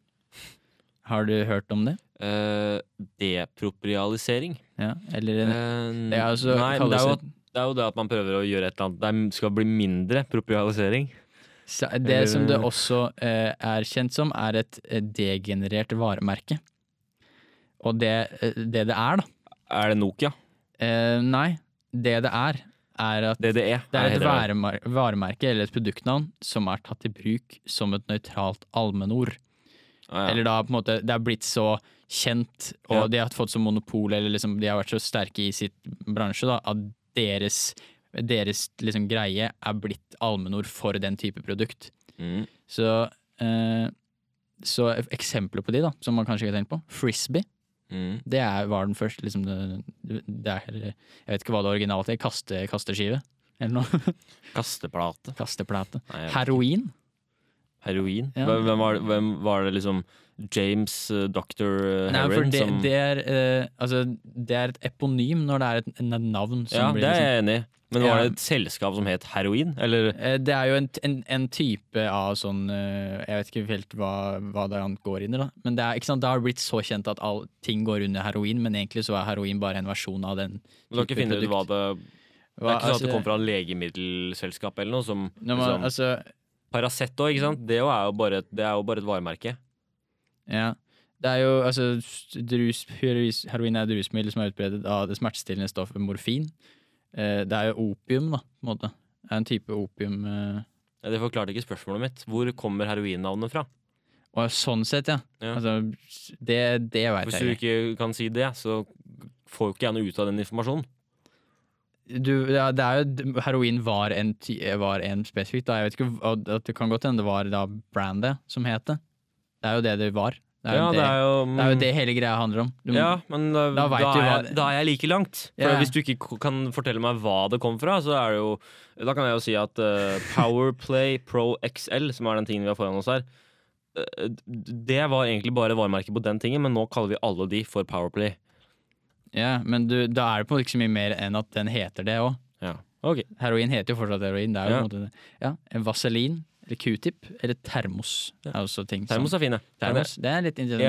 [SPEAKER 3] Har du hørt om det?
[SPEAKER 2] Eh, deproprialisering?
[SPEAKER 3] Ja, eller
[SPEAKER 2] Eh,
[SPEAKER 3] en, det er altså,
[SPEAKER 2] nei, men det
[SPEAKER 3] kalles
[SPEAKER 2] er, jo,
[SPEAKER 3] et-
[SPEAKER 2] det er jo det at man prøver å gjøre et eller annet Det er- skal bli mindre proprialisering.
[SPEAKER 3] Sa- Det som det
[SPEAKER 2] Eller-
[SPEAKER 3] også eh, er kjent som, er et eh, degenerert varemerke. Og det eh, det, det er, da
[SPEAKER 2] Er det Nokia?
[SPEAKER 3] eh, Nei, det det er, er at
[SPEAKER 2] DDE?
[SPEAKER 3] det
[SPEAKER 2] E? Nei,
[SPEAKER 3] er et
[SPEAKER 2] heter det.
[SPEAKER 3] varemar- varemerke eller et produktnavn som er tatt i bruk som et nøytralt allmennord.
[SPEAKER 2] Ah, ja.
[SPEAKER 3] Eller da på en måte det er blitt så kjent, og
[SPEAKER 2] Ja.
[SPEAKER 3] de har fått så monopol, eller liksom de har vært så sterke i sitt bransje, da, at deres, deres liksom greie er blitt allmennord for den type produkt.
[SPEAKER 2] Mm.
[SPEAKER 3] Så, eh, så eksempler på de, da, som man kanskje ikke har tenkt på. Frisbee.
[SPEAKER 2] Mm.
[SPEAKER 3] Det er, var den første liksom, det, det er, Jeg vet ikke hva det originalt er. Kaste, kasteskive, eller noe.
[SPEAKER 2] Kasteplate?
[SPEAKER 3] Kasteplate.
[SPEAKER 2] Nei, jeg vet ikke.
[SPEAKER 3] Heroin.
[SPEAKER 2] Heroin?
[SPEAKER 3] Ja.
[SPEAKER 2] Hvem, hvem, var, det- hvem var det liksom James uh, Dr.
[SPEAKER 3] Nei, for
[SPEAKER 2] Heroin
[SPEAKER 3] det,
[SPEAKER 2] som
[SPEAKER 3] det, er, eh, altså, det er et eponym når det er et, et navn som
[SPEAKER 2] Ja,
[SPEAKER 3] blir
[SPEAKER 2] det er
[SPEAKER 3] liksom,
[SPEAKER 2] jeg enig i. Men var
[SPEAKER 3] Ja.
[SPEAKER 2] det et selskap som het heroin? Eller
[SPEAKER 3] Eh, Det er jo en, en, en type av sånn eh, Jeg vet ikke helt hva, hva det an- går under, da. Men det, er, ikke sant, det har blitt så kjent at all, ting går under heroin, men egentlig så er heroin bare en versjon av den.
[SPEAKER 2] du har ikke
[SPEAKER 3] type
[SPEAKER 2] funnet ut hva
[SPEAKER 3] produkt.
[SPEAKER 2] det Det er
[SPEAKER 3] Hva-
[SPEAKER 2] ikke sånn at det
[SPEAKER 3] altså,
[SPEAKER 2] kom fra legemiddelselskap eller noe? Som
[SPEAKER 3] når man,
[SPEAKER 2] liksom,
[SPEAKER 3] altså,
[SPEAKER 2] Paracet òg, ikke sant? Det jo er jo bare, et- det er jo bare et varemerke.
[SPEAKER 3] Ja. Det er jo altså drus, herois- Heroin er et rusmiddel som er utbredet av det smertestillende stoffet morfin. Eh, Det er jo opium, da, på en måte. Det er en type opium eh.
[SPEAKER 2] Ja, Det forklarte ikke spørsmålet mitt. Hvor kommer heroinnavnet fra?
[SPEAKER 3] Og sånn sett, ja.
[SPEAKER 2] Ja.
[SPEAKER 3] Altså, det, det veit
[SPEAKER 2] Hvis du
[SPEAKER 3] jeg ikke.
[SPEAKER 2] ikke kan si det, så får jo ikke jeg noe ut av den informasjonen.
[SPEAKER 3] Du, ja, det er jo, heroin var en, ty- var en spesifikk, da. Jeg vet ikke, og at det kan godt hende det var da brandet som het det. Det er jo det det var. Det er,
[SPEAKER 2] Ja,
[SPEAKER 3] jo, det,
[SPEAKER 2] det
[SPEAKER 3] det,
[SPEAKER 2] er
[SPEAKER 3] er,
[SPEAKER 2] jo, mm,
[SPEAKER 3] jo det hele greia handler om. Du,
[SPEAKER 2] Ja, men da, da,
[SPEAKER 3] Da vet du
[SPEAKER 2] er,
[SPEAKER 3] hva
[SPEAKER 2] jeg-
[SPEAKER 3] det-
[SPEAKER 2] da er jeg like langt. For
[SPEAKER 3] Ja.
[SPEAKER 2] Hvis du ikke k- kan fortelle meg hva det kom fra, så er det jo Da kan jeg jo si at eh, Powerplay Pro XL, som er den tingen vi har foran oss her, eh, d- det var egentlig bare varemerket på den tingen, men nå kaller vi alle de for Powerplay.
[SPEAKER 3] Ja, men du, da er det på en måte ikke så mye mer enn at den heter det òg.
[SPEAKER 2] Ja. Ok.
[SPEAKER 3] Heroin heter jo fortsatt heroin. Det er jo
[SPEAKER 2] Ja.
[SPEAKER 3] på en måte det. Ja, en Vaselin, eller q-tip, eller termos. Er også ting som-
[SPEAKER 2] Termos er fine.
[SPEAKER 3] termos. Det er litt interessant.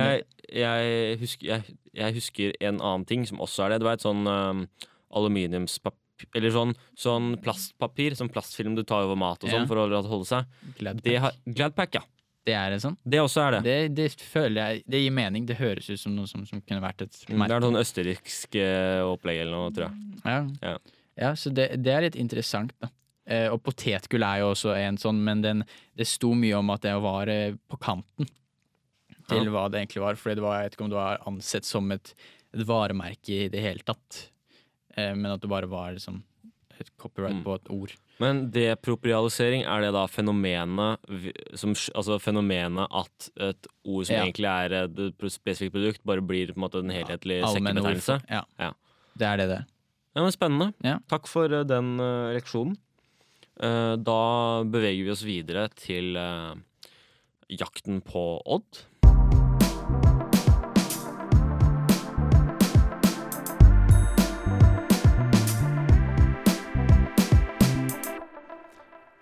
[SPEAKER 2] Jeg, jeg, husker, jeg, jeg husker en annen ting som også er det. Du veit sånn eh, aluminiumspapir Eller sånn, sånn plastpapir, sånn plastfilm du tar over mat og sånn
[SPEAKER 3] Ja.
[SPEAKER 2] for å holde seg.
[SPEAKER 3] Glad-
[SPEAKER 2] Det har, Gladpack, ja.
[SPEAKER 3] det er en sånn.
[SPEAKER 2] Det også er det.
[SPEAKER 3] Det, det føler jeg Det gir mening. Det høres ut som noe som, som kunne vært et
[SPEAKER 2] Mm, Det
[SPEAKER 3] merke.
[SPEAKER 2] er sånn østerriksk eh, opplegg eller noe, tror jeg.
[SPEAKER 3] Ja.
[SPEAKER 2] Ja.
[SPEAKER 3] ja, så det, det er litt interessant, da. Eh, og potetgull er jo også en sånn, men den, det sto mye om at det var eh, på kanten til
[SPEAKER 2] Ja.
[SPEAKER 3] hva det egentlig var. Fordi det var, jeg vet ikke om det var ansett som et, et varemerke i det hele tatt. Eh, men at det bare var liksom et copyright
[SPEAKER 2] Mm.
[SPEAKER 3] på et ord.
[SPEAKER 2] Men deproprialisering, er det da fenomenet vi- som, sk- Altså fenomenet at et ord som
[SPEAKER 3] Ja.
[SPEAKER 2] egentlig er eh, et pro- spesifikt produkt, bare blir på en måte en helhetlig
[SPEAKER 3] Allmenne ord
[SPEAKER 2] sekkebetegnelse?
[SPEAKER 3] for- Eh, Ja.
[SPEAKER 2] Ja.
[SPEAKER 3] Det er det det er.
[SPEAKER 2] Ja, men Spennende.
[SPEAKER 3] Ja.
[SPEAKER 2] Takk for eh, den eh, leksjonen. Eh, Da beveger vi oss videre til eh, jakten på Odd.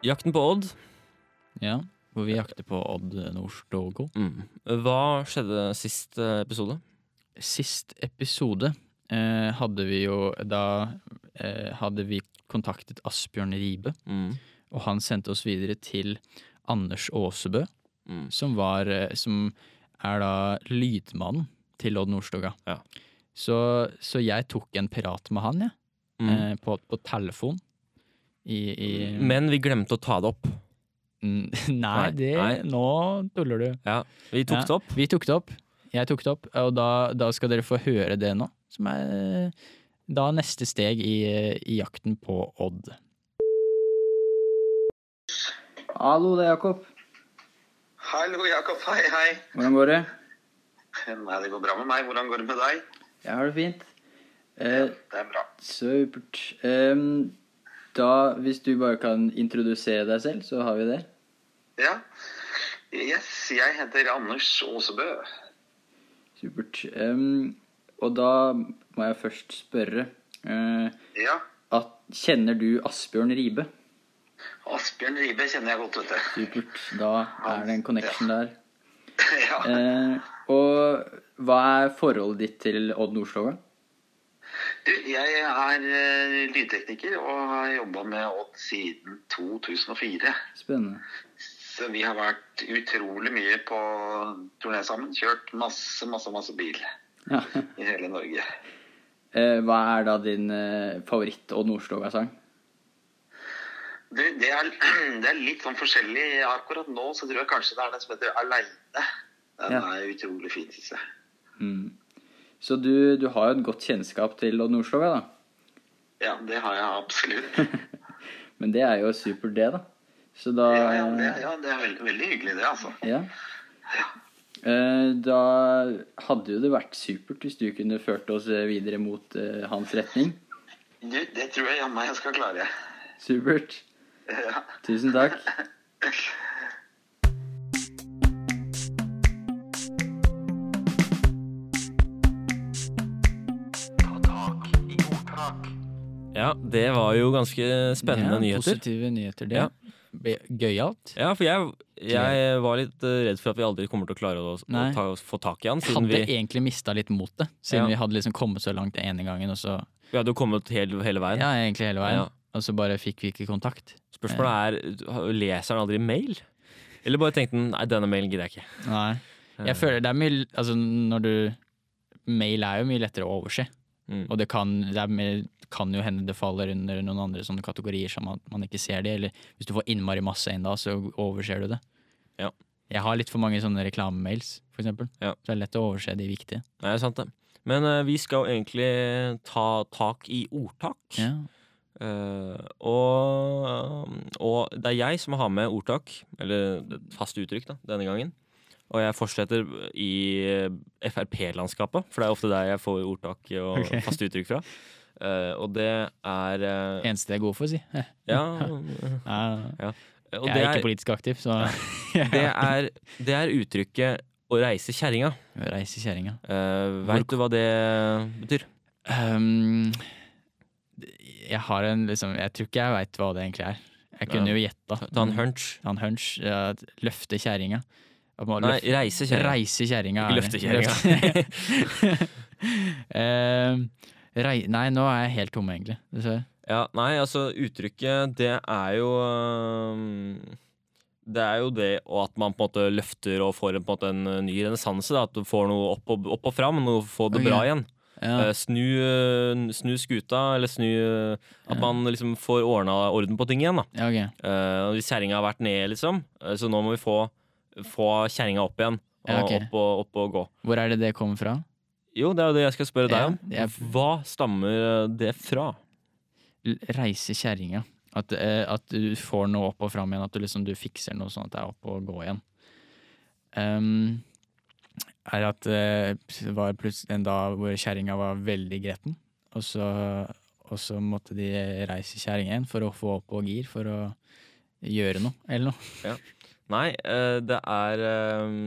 [SPEAKER 2] Jakten på Odd.
[SPEAKER 3] Ja, hvor vi jakter på Odd Nordstogo.
[SPEAKER 2] Mm. Hva skjedde sist eh, episode?
[SPEAKER 3] Sist episode eh, hadde vi jo da eh, hadde vi kontaktet Asbjørn Ribe,
[SPEAKER 2] Mm.
[SPEAKER 3] og han sendte oss videre til Anders Aasebø,
[SPEAKER 2] Mm.
[SPEAKER 3] som var eh, som er da lydmannen til Odd Nordstoga.
[SPEAKER 2] Ja.
[SPEAKER 3] Så, så jeg tok en pirat med han, jeg.
[SPEAKER 2] Mm.
[SPEAKER 3] eh, på, på telefon. I, i
[SPEAKER 2] Men vi glemte å ta det opp.
[SPEAKER 3] Mm, Nei,
[SPEAKER 2] Nei,
[SPEAKER 3] det
[SPEAKER 2] nei.
[SPEAKER 3] Nå tuller du.
[SPEAKER 2] Ja, Vi tok
[SPEAKER 3] Ja.
[SPEAKER 2] det opp.
[SPEAKER 3] Vi tok det opp. Jeg tok det opp, og da, da skal dere få høre det nå. Som er da neste steg i, i jakten på Odd.
[SPEAKER 1] Hallo, det er Jakob.
[SPEAKER 4] Hallo, Jakob. Hei, hei.
[SPEAKER 1] Hvordan går det?
[SPEAKER 4] Nei, det går bra med meg. Hvordan går det med deg?
[SPEAKER 1] Jeg har det fint. Eh,
[SPEAKER 4] Det er bra.
[SPEAKER 1] supert. Em, da, hvis du bare kan introdusere deg selv, så har vi det.
[SPEAKER 4] Ja. Yes, jeg heter Anders Aasebø.
[SPEAKER 1] Supert. Em, og da må jeg først spørre eh,
[SPEAKER 4] Ja.
[SPEAKER 1] at, Kjenner du Asbjørn Ribe?
[SPEAKER 4] Asbjørn Ribe kjenner jeg godt, vet du.
[SPEAKER 1] Supert. Da er det en connection der.
[SPEAKER 4] Ja.
[SPEAKER 1] Eh, og hva er forholdet ditt til Odd Nordstoga?
[SPEAKER 4] Du, jeg er eh, lydtekniker og har jobba med Odd siden 2004.
[SPEAKER 1] Spennende.
[SPEAKER 4] Så vi har vært utrolig mye på turné sammen. Kjørt masse, masse, masse bil
[SPEAKER 1] Ja.
[SPEAKER 4] i hele Norge.
[SPEAKER 1] Eh, hva er da din eh, favoritt-Odd Nordstoga-sang?
[SPEAKER 4] Du, det er, det er litt sånn forskjellig. Akkurat nå så tror jeg kanskje det er den som heter Aleine. Den
[SPEAKER 1] Ja.
[SPEAKER 4] er utrolig fin, syns jeg.
[SPEAKER 1] Mm. Så du, du har jo et godt kjennskap til Odd Nordstoga, da.
[SPEAKER 4] Ja, det har jeg absolutt.
[SPEAKER 1] Men det er jo supert, det, da. Så da
[SPEAKER 4] Ja, ja, det, ja, det er veldig, veldig hyggelig, det, altså.
[SPEAKER 1] Ja. Eh, Da hadde jo det vært supert hvis du kunne ført oss eh, videre mot eh, hans retning.
[SPEAKER 4] Du, det tror jeg jammen jeg skal klare.
[SPEAKER 1] Supert.
[SPEAKER 4] Ja.
[SPEAKER 1] Tusen takk.
[SPEAKER 2] Ja, Det var jo ganske spennende
[SPEAKER 3] Ja,
[SPEAKER 2] nyheter.
[SPEAKER 3] Positive nyheter, det.
[SPEAKER 2] Ja.
[SPEAKER 3] Blir Gøyalt.
[SPEAKER 2] Ja, for jeg, jeg var litt eh, redd for at vi aldri kommer til å klare å, å
[SPEAKER 3] Nei.
[SPEAKER 2] ta, få tak i han.
[SPEAKER 3] Hadde
[SPEAKER 2] Siden vi,
[SPEAKER 3] egentlig mista litt motet, siden
[SPEAKER 2] Ja.
[SPEAKER 3] vi hadde liksom kommet så langt den ene gangen, og så
[SPEAKER 2] vi hadde jo kommet hele, hele veien.
[SPEAKER 3] Ja, egentlig hele veien.
[SPEAKER 2] Ja.
[SPEAKER 3] Og så bare fikk vi ikke kontakt.
[SPEAKER 2] Spørsmålet er leser han aldri mail. Eller bare tenkte han nei, denne mailen gidder jeg ikke.
[SPEAKER 3] Nei. Jeg føler det er mye Altså, når du Mail er jo mye lettere å overse.
[SPEAKER 2] Mm.
[SPEAKER 3] Og det kan, det er, mer- kan jo hende det faller under noen andre sånne kategorier som at man ikke ser det, eller hvis du får innmari masse inn da, så overser du det.
[SPEAKER 2] Ja.
[SPEAKER 3] Jeg har litt for mange sånne reklamemails, for eksempel.
[SPEAKER 2] Ja.
[SPEAKER 3] Så det er lett å overse de viktige.
[SPEAKER 2] Nei, det er sant det. Men eh, vi skal jo egentlig ta tak i ordtak. Eh, og, og det er jeg som har med ordtak, eller et fast uttrykk, da, denne gangen. Og jeg fortsetter i Frp-landskapet, for det er ofte der jeg får ordtak og
[SPEAKER 3] Ok.
[SPEAKER 2] faste uttrykk fra. Eh, og det er eh,
[SPEAKER 3] Eneste jeg er god for, si. Eh,
[SPEAKER 2] Ja.
[SPEAKER 3] eh,
[SPEAKER 2] Og
[SPEAKER 3] jeg
[SPEAKER 2] det
[SPEAKER 3] er ikke
[SPEAKER 2] er,
[SPEAKER 3] politisk aktiv, så
[SPEAKER 2] det er, det er uttrykket 'å reise kjerringa'.
[SPEAKER 3] reis i kjerringa.
[SPEAKER 2] Uh, Veit du hva det betyr?
[SPEAKER 3] Um, jeg har en liksom Jeg tror ikke jeg veit hva det egentlig er. Jeg kunne
[SPEAKER 2] Ja.
[SPEAKER 3] jo gjetta. Mm.
[SPEAKER 2] Ta en hunch.
[SPEAKER 3] Ta en hunch. ja, løfte kjerringa. At man
[SPEAKER 2] Nei,
[SPEAKER 3] løf-
[SPEAKER 2] reise kjerringa.
[SPEAKER 3] Reise kjerringa.
[SPEAKER 2] Ikke
[SPEAKER 3] er-
[SPEAKER 2] løfte kjerringa.
[SPEAKER 3] Løfte- Ehm, rei, nei, nå er jeg helt tom, egentlig. Dessverre.
[SPEAKER 2] Ja, nei, altså uttrykket det er jo øhm, Det er jo det og at man på en måte løfter og får en, på en, måte en øh, ny renessanse. da, At du får noe opp og, opp og fram, noe få det
[SPEAKER 3] Ok.
[SPEAKER 2] bra igjen.
[SPEAKER 3] Ja.
[SPEAKER 2] Eh, snu, øh, snu skuta, eller snu øh, At man liksom får ordna orden på ting igjen. da.
[SPEAKER 3] ja, ok.
[SPEAKER 2] Eh, og hvis kjerringa har vært ned, liksom, eh, så nå må vi få, få kjerringa opp igjen. Og
[SPEAKER 3] Ja, ok.
[SPEAKER 2] opp, og, opp og gå.
[SPEAKER 3] Hvor er det det kommer fra?
[SPEAKER 2] Jo, det er jo det jeg skal spørre
[SPEAKER 3] Ja,
[SPEAKER 2] deg
[SPEAKER 3] jeg-
[SPEAKER 2] om. Hva stammer øh, det fra?
[SPEAKER 3] L- Reise kjerringa. At, eh, at du får noe opp og fram igjen. At du liksom du fikser noe sånn at det er opp og gå igjen. Ehm, er at eh, det var plutselig en dag hvor kjerringa var veldig gretten, og så, og så måtte de reise kjerringa igjen for å få opp og gir, for å gjøre noe, eller noe.
[SPEAKER 2] Nei, eh, det er eh,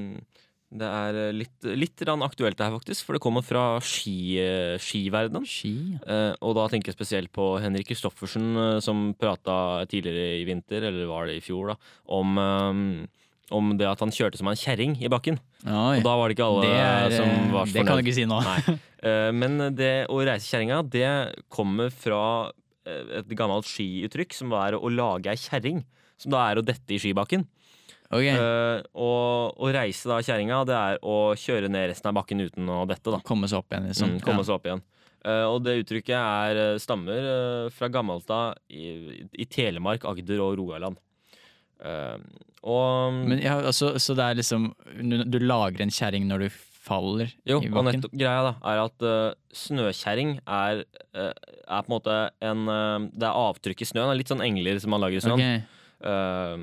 [SPEAKER 2] Det er eh, litt, litt rann aktuelt her, faktisk, for det kommer fra ski, eh, skiverdenen.
[SPEAKER 3] Ski, ja.
[SPEAKER 2] Eh, og da tenker jeg spesielt på Henrik Kristoffersen, eh, som prata tidligere i vinter, eller var det i fjor, da, om, eh, om det at han kjørte som en kjerring i bakken.
[SPEAKER 3] Oi,
[SPEAKER 2] Og da var det ikke alle
[SPEAKER 3] det, er,
[SPEAKER 2] som
[SPEAKER 3] eh,
[SPEAKER 2] var så
[SPEAKER 3] det kan du
[SPEAKER 2] fornøyd.
[SPEAKER 3] ikke si nå.
[SPEAKER 2] Nei. Eh, Men det å reise kjerringa, det kommer fra eh, et gammelt skiuttrykk som er å lage ei kjerring. Som da er å dette i skibakken.
[SPEAKER 3] Ok,
[SPEAKER 2] Eh, og å reise da kjerringa, det er å kjøre ned resten av bakken uten å dette, da.
[SPEAKER 3] Komme seg opp igjen, liksom.
[SPEAKER 2] Mm, komme oss opp igjen. Eh, og det uttrykket er, eh, stammer eh, fra gammelt av i, i Telemark, Agder og Rogaland. Eh, og
[SPEAKER 3] Ja. Men ja, altså, så det er liksom Du, du lager en kjerring når du faller
[SPEAKER 2] Jo,
[SPEAKER 3] i
[SPEAKER 2] og
[SPEAKER 3] bakken?
[SPEAKER 2] nettopp greia da er at eh, snøkjerring er, eh, er på en måte en eh, Det er avtrykk i snøen. Det er litt sånn engler som man lager i snøen.
[SPEAKER 3] Ok,
[SPEAKER 2] Eh,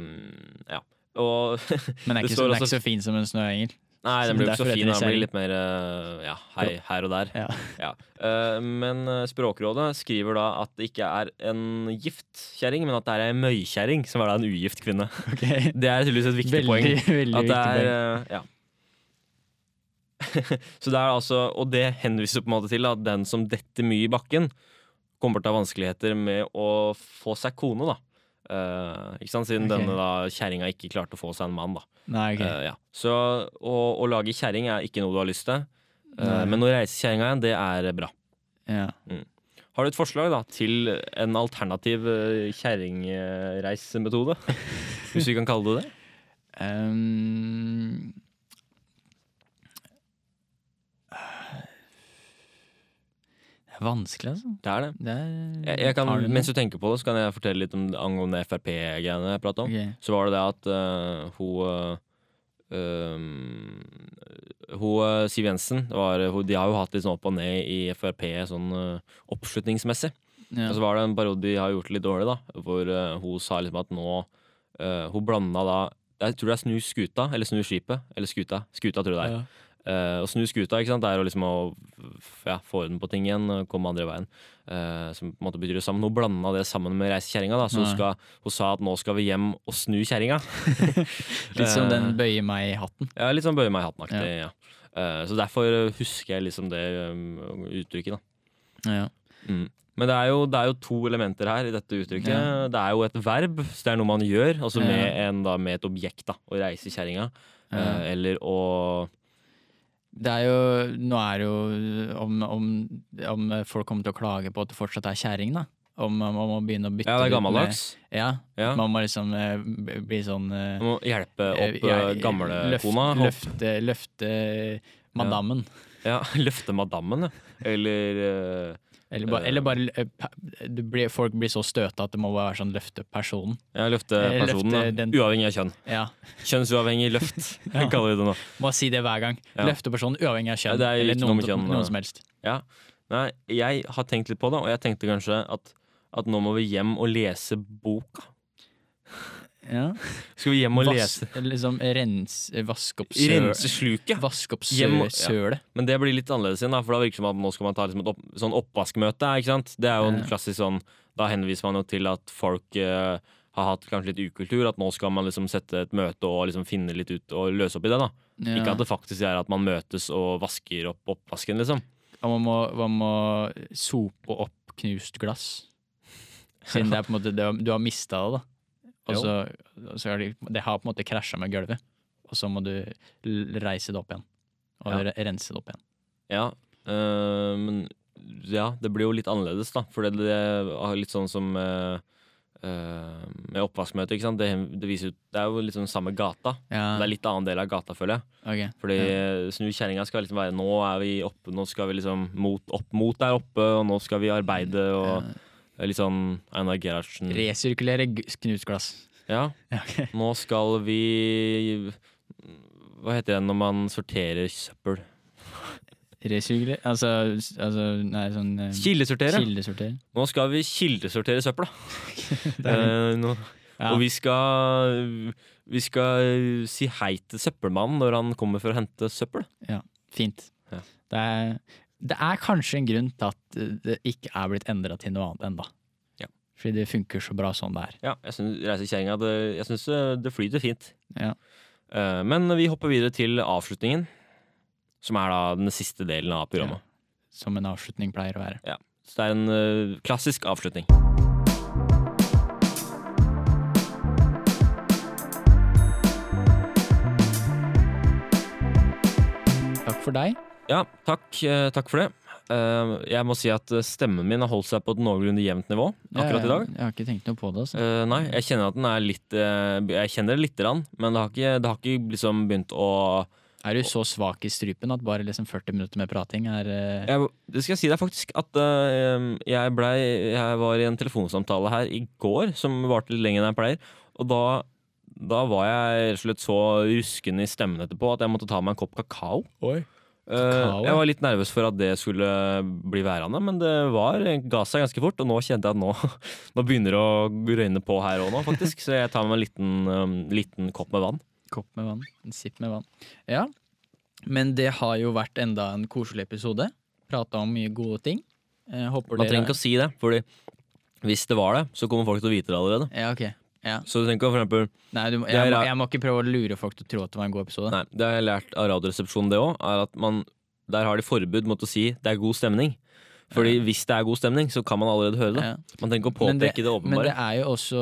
[SPEAKER 2] ja. Og
[SPEAKER 3] Men det er
[SPEAKER 2] Det
[SPEAKER 3] ikke,
[SPEAKER 2] står altså også-
[SPEAKER 3] så, det er ikke så fin som en snøengel.
[SPEAKER 2] Nei, den blir jo ikke
[SPEAKER 3] Derfor
[SPEAKER 2] så fin.
[SPEAKER 3] heter det
[SPEAKER 2] Den blir
[SPEAKER 3] kjerring.
[SPEAKER 2] litt mer eh, ja, hei, her og der.
[SPEAKER 3] Ja.
[SPEAKER 2] Ja. Eh, men eh, Språkrådet skriver da at det ikke er en gift kjerring, men at det er ei møykjerring, som er da en ugift kvinne. Det er tydeligvis et viktig
[SPEAKER 3] Veldig,
[SPEAKER 2] poeng.
[SPEAKER 3] veldig
[SPEAKER 2] At det er
[SPEAKER 3] viktig
[SPEAKER 2] eh,
[SPEAKER 3] poeng.
[SPEAKER 2] Ja. Så det er altså Og det henviser på en måte til at den som detter mye i bakken, kommer til å ha vanskeligheter med å få seg kone, da. Eh, ikke sant? Siden
[SPEAKER 3] Ok.
[SPEAKER 2] denne da kjerringa ikke klarte å få seg en mann, da.
[SPEAKER 3] Nei, ok.
[SPEAKER 2] Eh, ja. Så å, å lage kjerring er ikke noe du har lyst til, eh,
[SPEAKER 3] Nei.
[SPEAKER 2] men å reise kjerringa igjen, det er bra.
[SPEAKER 3] Ja.
[SPEAKER 2] Har du et forslag da til en alternativ eh, kjerringreisemetode? Hvis vi kan kalle det det?
[SPEAKER 3] Ehm. det er vanskelig, altså.
[SPEAKER 2] Det er det.
[SPEAKER 3] Det er,
[SPEAKER 2] Jeg, jeg kan,
[SPEAKER 3] Har du noe?
[SPEAKER 2] mens du tenker på det, så kan jeg fortelle litt om angående Frp-greiene jeg prata om.
[SPEAKER 3] Ok.
[SPEAKER 2] Så var det det at eh, hun eh, um, Hun eh, Siv Jensen det var, hun, De har jo hatt litt sånn opp og ned i Frp sånn eh, oppslutningsmessig.
[SPEAKER 3] Ja.
[SPEAKER 2] Og så var det en parodi de har gjort litt dårlig, da, hvor eh, hun sa liksom at nå eh, Hun blanda da Jeg tror det er snu skuta, eller snu skipet. Eller skuta. Skuta, tror jeg det er. Eh, å snu skuta ikke sant? Det er å liksom å, f- ja, få orden på ting igjen og komme andre veien. Eh, som på en måte betyr det sammen. Hun blanda det sammen med reisekjerringa. da, Så hun,
[SPEAKER 3] Nei.
[SPEAKER 2] skal, hun sa at nå skal vi hjem og snu kjerringa.
[SPEAKER 3] Litt som den
[SPEAKER 2] Eh,
[SPEAKER 3] bøyer meg i hatten.
[SPEAKER 2] ja, litt sånn bøye meg i hatten-aktig. Ja. Eh, så derfor husker jeg liksom det um, uttrykket. da.
[SPEAKER 3] Ja.
[SPEAKER 2] Mm. Men det er, jo, det er jo to elementer her i dette uttrykket.
[SPEAKER 3] Ja.
[SPEAKER 2] Det er jo et verb, så det er noe man gjør, altså
[SPEAKER 3] Ja.
[SPEAKER 2] med, en, da, med et objekt. da, Å reise kjerringa. Eh,
[SPEAKER 3] Ja.
[SPEAKER 2] eller å
[SPEAKER 3] Det er jo, nå er det jo om, om, om folk kommer til å klage på at det fortsatt er kjerring, da. Om man må begynne å bytte
[SPEAKER 2] Ja, det er
[SPEAKER 3] ut med-
[SPEAKER 2] gammeldags.
[SPEAKER 3] Ja,
[SPEAKER 2] Ja.
[SPEAKER 3] Man må liksom eh, b- bli sånn eh,
[SPEAKER 2] Man må hjelpe opp
[SPEAKER 3] eh,
[SPEAKER 2] eh,
[SPEAKER 3] ja,
[SPEAKER 2] gamle
[SPEAKER 3] løft-
[SPEAKER 2] kona. opp-
[SPEAKER 3] Løfte, løfte madammen.
[SPEAKER 2] Ja, Løfte madammen, ja. Eller eh,
[SPEAKER 3] Eller, ba,
[SPEAKER 2] Eh.
[SPEAKER 3] eller bare eh, pa- du blir, Folk blir så støta at det må bare være sånn løfte personen.
[SPEAKER 2] ja, løfte
[SPEAKER 3] Eh, løfte
[SPEAKER 2] personen. da.
[SPEAKER 3] den-
[SPEAKER 2] Uavhengig av kjønn.
[SPEAKER 3] Ja,
[SPEAKER 2] Kjønnsuavhengig løft, kaller vi det nå.
[SPEAKER 3] Må si det hver gang.
[SPEAKER 2] Ja.
[SPEAKER 3] Løfte personen uavhengig av
[SPEAKER 2] Ja,
[SPEAKER 3] kjønn.
[SPEAKER 2] det er jo
[SPEAKER 3] eller
[SPEAKER 2] ikke noe
[SPEAKER 3] noen,
[SPEAKER 2] med kjønn, da.
[SPEAKER 3] noen som helst.
[SPEAKER 2] Ja. Nei, jeg har tenkt litt på det, og jeg tenkte kanskje at, at nå må vi hjem og lese boka.
[SPEAKER 3] Ja.
[SPEAKER 2] Skal vi hjem og
[SPEAKER 3] Vas,
[SPEAKER 2] lese?
[SPEAKER 3] liksom rens, vask opp søl.
[SPEAKER 2] Rense sluket.
[SPEAKER 3] Vask opp
[SPEAKER 2] Hjem
[SPEAKER 3] sø,
[SPEAKER 2] og- ja.
[SPEAKER 3] sølet.
[SPEAKER 2] Men det blir litt annerledes igjen, da, for da virker det som at nå skal man ta liksom et opp, sånn oppvaskmøte. Ikke sant? Det er jo en
[SPEAKER 3] Ja.
[SPEAKER 2] klassisk sånn Da henviser man jo til at folk eh, har hatt kanskje litt ukultur, at nå skal man liksom sette et møte og liksom finne litt ut og løse opp i det. da
[SPEAKER 3] Ja.
[SPEAKER 2] Ikke at det faktisk er at man møtes og vasker opp oppvasken, liksom.
[SPEAKER 3] Og man må, man må sope opp knust glass. Siden det er på en måte det, Du har mista det, da. Og
[SPEAKER 2] Jo.
[SPEAKER 3] så, og så har de, det har på en måte krasja med gulvet. Og så må du l- reise det opp igjen. Og
[SPEAKER 2] Ja.
[SPEAKER 3] re- rense det opp igjen.
[SPEAKER 2] Ja, øh, men ja, det blir jo litt annerledes, da. For det, det er litt sånn som øh, øh, med oppvaskmøte, ikke sant. Det, det, viser, jo- det er jo liksom samme gata. Det er litt annen del av gata, føler jeg.
[SPEAKER 3] Ok.
[SPEAKER 2] Fordi snu kjerringa skal liksom være Nå er vi oppe, nå skal vi liksom mot, opp mot der oppe, og nå skal vi arbeide, og det er litt sånn Einar Gerhardsen.
[SPEAKER 3] Resirkulere g- knust glass.
[SPEAKER 2] Ja.
[SPEAKER 3] Ja, ok.
[SPEAKER 2] Nå skal vi Hva heter det når man sorterer søppel?
[SPEAKER 3] Resirkulere Altså, s- altså nei, sånn eh,
[SPEAKER 2] Kildesortere!
[SPEAKER 3] Kildesortere.
[SPEAKER 2] Nå skal vi kildesortere søpla. Eh, nå.
[SPEAKER 3] Ja.
[SPEAKER 2] Og vi skal, vi skal si hei til søppelmannen når han kommer for å hente søppel.
[SPEAKER 3] Fint.
[SPEAKER 2] Ja.
[SPEAKER 3] Det, er, det er kanskje en grunn til at det ikke er blitt endra til noe annet ennå.
[SPEAKER 2] Ja.
[SPEAKER 3] Fordi det funker så bra sånn det er.
[SPEAKER 2] Ja, jeg syns reisekjerringa det, jeg synes det- det flyter eh, fint.
[SPEAKER 3] Ja.
[SPEAKER 2] Eh, Men vi hopper videre til avslutningen, som er da den siste delen av programmet.
[SPEAKER 3] Som en avslutning pleier å være.
[SPEAKER 2] Så det er en eh, klassisk avslutning.
[SPEAKER 3] Takk for deg.
[SPEAKER 2] Ja, takk, eh, takk for det. Eh, Jeg må si at eh, stemmen min har holdt seg på et noenlunde jevnt nivå akkurat i dag.
[SPEAKER 3] Jeg, jeg har ikke tenkt noe på det. Altså.
[SPEAKER 2] Eh, nei, jeg kjenner at den er litt eh, Jeg kjenner det lite grann, men det har ikke, det har ikke liksom begynt å
[SPEAKER 3] Er du så svak i strupen at bare liksom 40 minutter med prating er eh,
[SPEAKER 2] jeg, Det skal jeg si deg faktisk at eh, jeg, ble, jeg var i en telefonsamtale her i går som varte litt lenger enn jeg pleier. Og da, da var jeg rett og slett så rusken i stemmen etterpå at jeg måtte ta meg en kopp kakao. Eh,
[SPEAKER 3] Kakao, ja.
[SPEAKER 2] jeg var litt nervøs for at det skulle bli værende, men det var, eh, ga seg ganske fort. Og nå kjente jeg at nå, nå begynner det å røyne på her òg, faktisk. Så jeg tar meg en liten, eh, liten kopp med vann.
[SPEAKER 3] kopp med vann? En sipp med vann. Ja. Men det har jo vært enda en koselig episode. Prata om mye gode ting. Jeg håper
[SPEAKER 2] Man
[SPEAKER 3] dere
[SPEAKER 2] trenger ikke å si det, Fordi hvis det var det, så kommer folk til å vite det allerede.
[SPEAKER 3] Ja, ok. Ja.
[SPEAKER 2] Så du trenger ikke å for eksempel
[SPEAKER 3] Nei, du, må-
[SPEAKER 2] Det
[SPEAKER 3] jeg,
[SPEAKER 2] er
[SPEAKER 3] må,
[SPEAKER 2] ra-
[SPEAKER 3] jeg må ikke prøve å lure folk til å tro at det var en god episode.
[SPEAKER 2] Nei, det har jeg lært av Radioresepsjonen, det òg, er at man Der har de forbud mot å si 'det er god stemning'. Fordi hvis det er god stemning, så kan man allerede høre det.
[SPEAKER 3] Ja.
[SPEAKER 2] Man trenger ikke å
[SPEAKER 3] Men det-
[SPEAKER 2] påpeke det,
[SPEAKER 3] Men det
[SPEAKER 2] åpenbare.
[SPEAKER 3] er jo også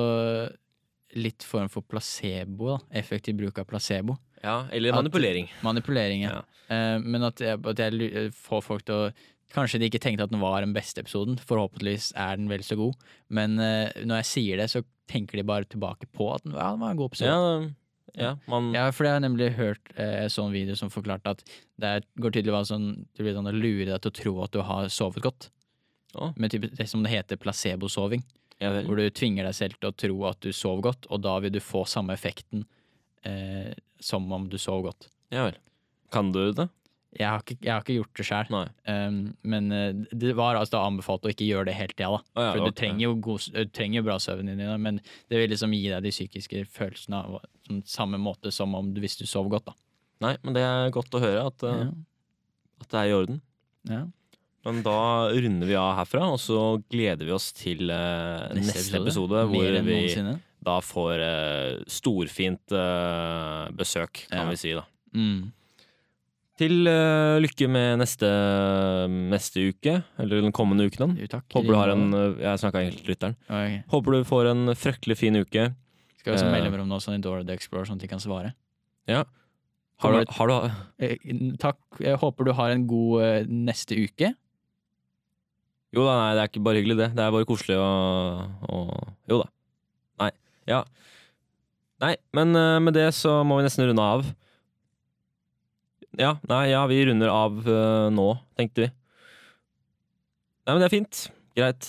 [SPEAKER 3] litt form for placebo. Da. Effektiv bruk av placebo.
[SPEAKER 2] ja, eller
[SPEAKER 3] At-
[SPEAKER 2] manipulering.
[SPEAKER 3] Manipulering, ja. Eh, men at jeg, at jeg lu- får folk til å Kanskje de ikke tenkte at den var den beste episoden. Forhåpentligvis er den vel så god. Men eh, når jeg sier det, så tenker de bare tilbake på at den, ja, den var en god episode.
[SPEAKER 2] Ja, ja, man
[SPEAKER 3] Ja, for jeg har nemlig hørt eh, sånn video som forklarte at det er- går tydelig an sånn, det blir sånn å lure deg til å tro at du har sovet godt.
[SPEAKER 2] Å.
[SPEAKER 3] Men typ, det som det heter placebosoving,
[SPEAKER 2] ja vel.
[SPEAKER 3] hvor du tvinger deg selv til å tro at du sov godt, og da vil du få samme effekten eh, som om du sov godt.
[SPEAKER 2] Ja vel. Kan du det?
[SPEAKER 3] Jeg har ikke, jeg har ikke gjort det sjøl,
[SPEAKER 2] Nei.
[SPEAKER 3] men eh, det var altså da anbefalt å ikke gjøre det helt, ja da.
[SPEAKER 2] Å ja,
[SPEAKER 3] For
[SPEAKER 2] ok.
[SPEAKER 3] du trenger jo, god, s- du trenger jo bra søvn inni deg, men det vil liksom gi deg de psykiske følelsene av sånn, samme måte som om du, hvis du sov godt, da.
[SPEAKER 2] Nei, men det er godt å høre at, eh, at det er i orden.
[SPEAKER 3] Ja.
[SPEAKER 2] Men da runder vi av herfra, og så gleder vi oss til eh, neste, episode,
[SPEAKER 3] Mer
[SPEAKER 2] hvor
[SPEAKER 3] enn
[SPEAKER 2] vi
[SPEAKER 3] noensinne.
[SPEAKER 2] da får eh, storfint eh, besøk, kan
[SPEAKER 3] Ja.
[SPEAKER 2] vi si, da.
[SPEAKER 3] Mm.
[SPEAKER 2] Til eh, lykke med neste, neste uke, eller den kommende uken. da.
[SPEAKER 3] Jo, takk.
[SPEAKER 2] Håper du har en eh, Jeg snakka egentlig til lytteren.
[SPEAKER 3] Ok.
[SPEAKER 2] Håper du får en fryktelig fin uke.
[SPEAKER 3] Skal vi også
[SPEAKER 2] Eh.
[SPEAKER 3] melde mellom nå sånn i Dora the Explorer, sånn at de kan svare.
[SPEAKER 2] Har
[SPEAKER 3] Kommer
[SPEAKER 2] du, har du
[SPEAKER 3] Eh, takk. Jeg håper du har en god eh, neste uke.
[SPEAKER 2] Jo da, nei, det er ikke bare hyggelig, det. Det er bare koselig å, å Jo da. Nei. Ja. Nei, men eh, med det så må vi nesten runde av. Ja, nei, ja, vi runder av eh, nå, tenkte vi. Nei, men det er fint. Greit.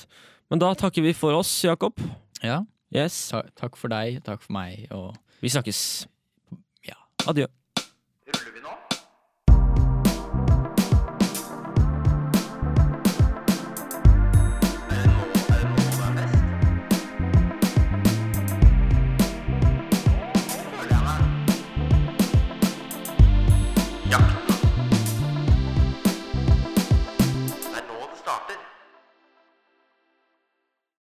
[SPEAKER 2] Men da takker vi for oss, Jakob.
[SPEAKER 3] Ja.
[SPEAKER 2] Yes.
[SPEAKER 3] Ta takk for deg, takk for meg, og
[SPEAKER 2] Vi snakkes.
[SPEAKER 3] Ja.
[SPEAKER 2] Adjø.
[SPEAKER 4] Ruller vi nå? Jakten. Det er nå det starter.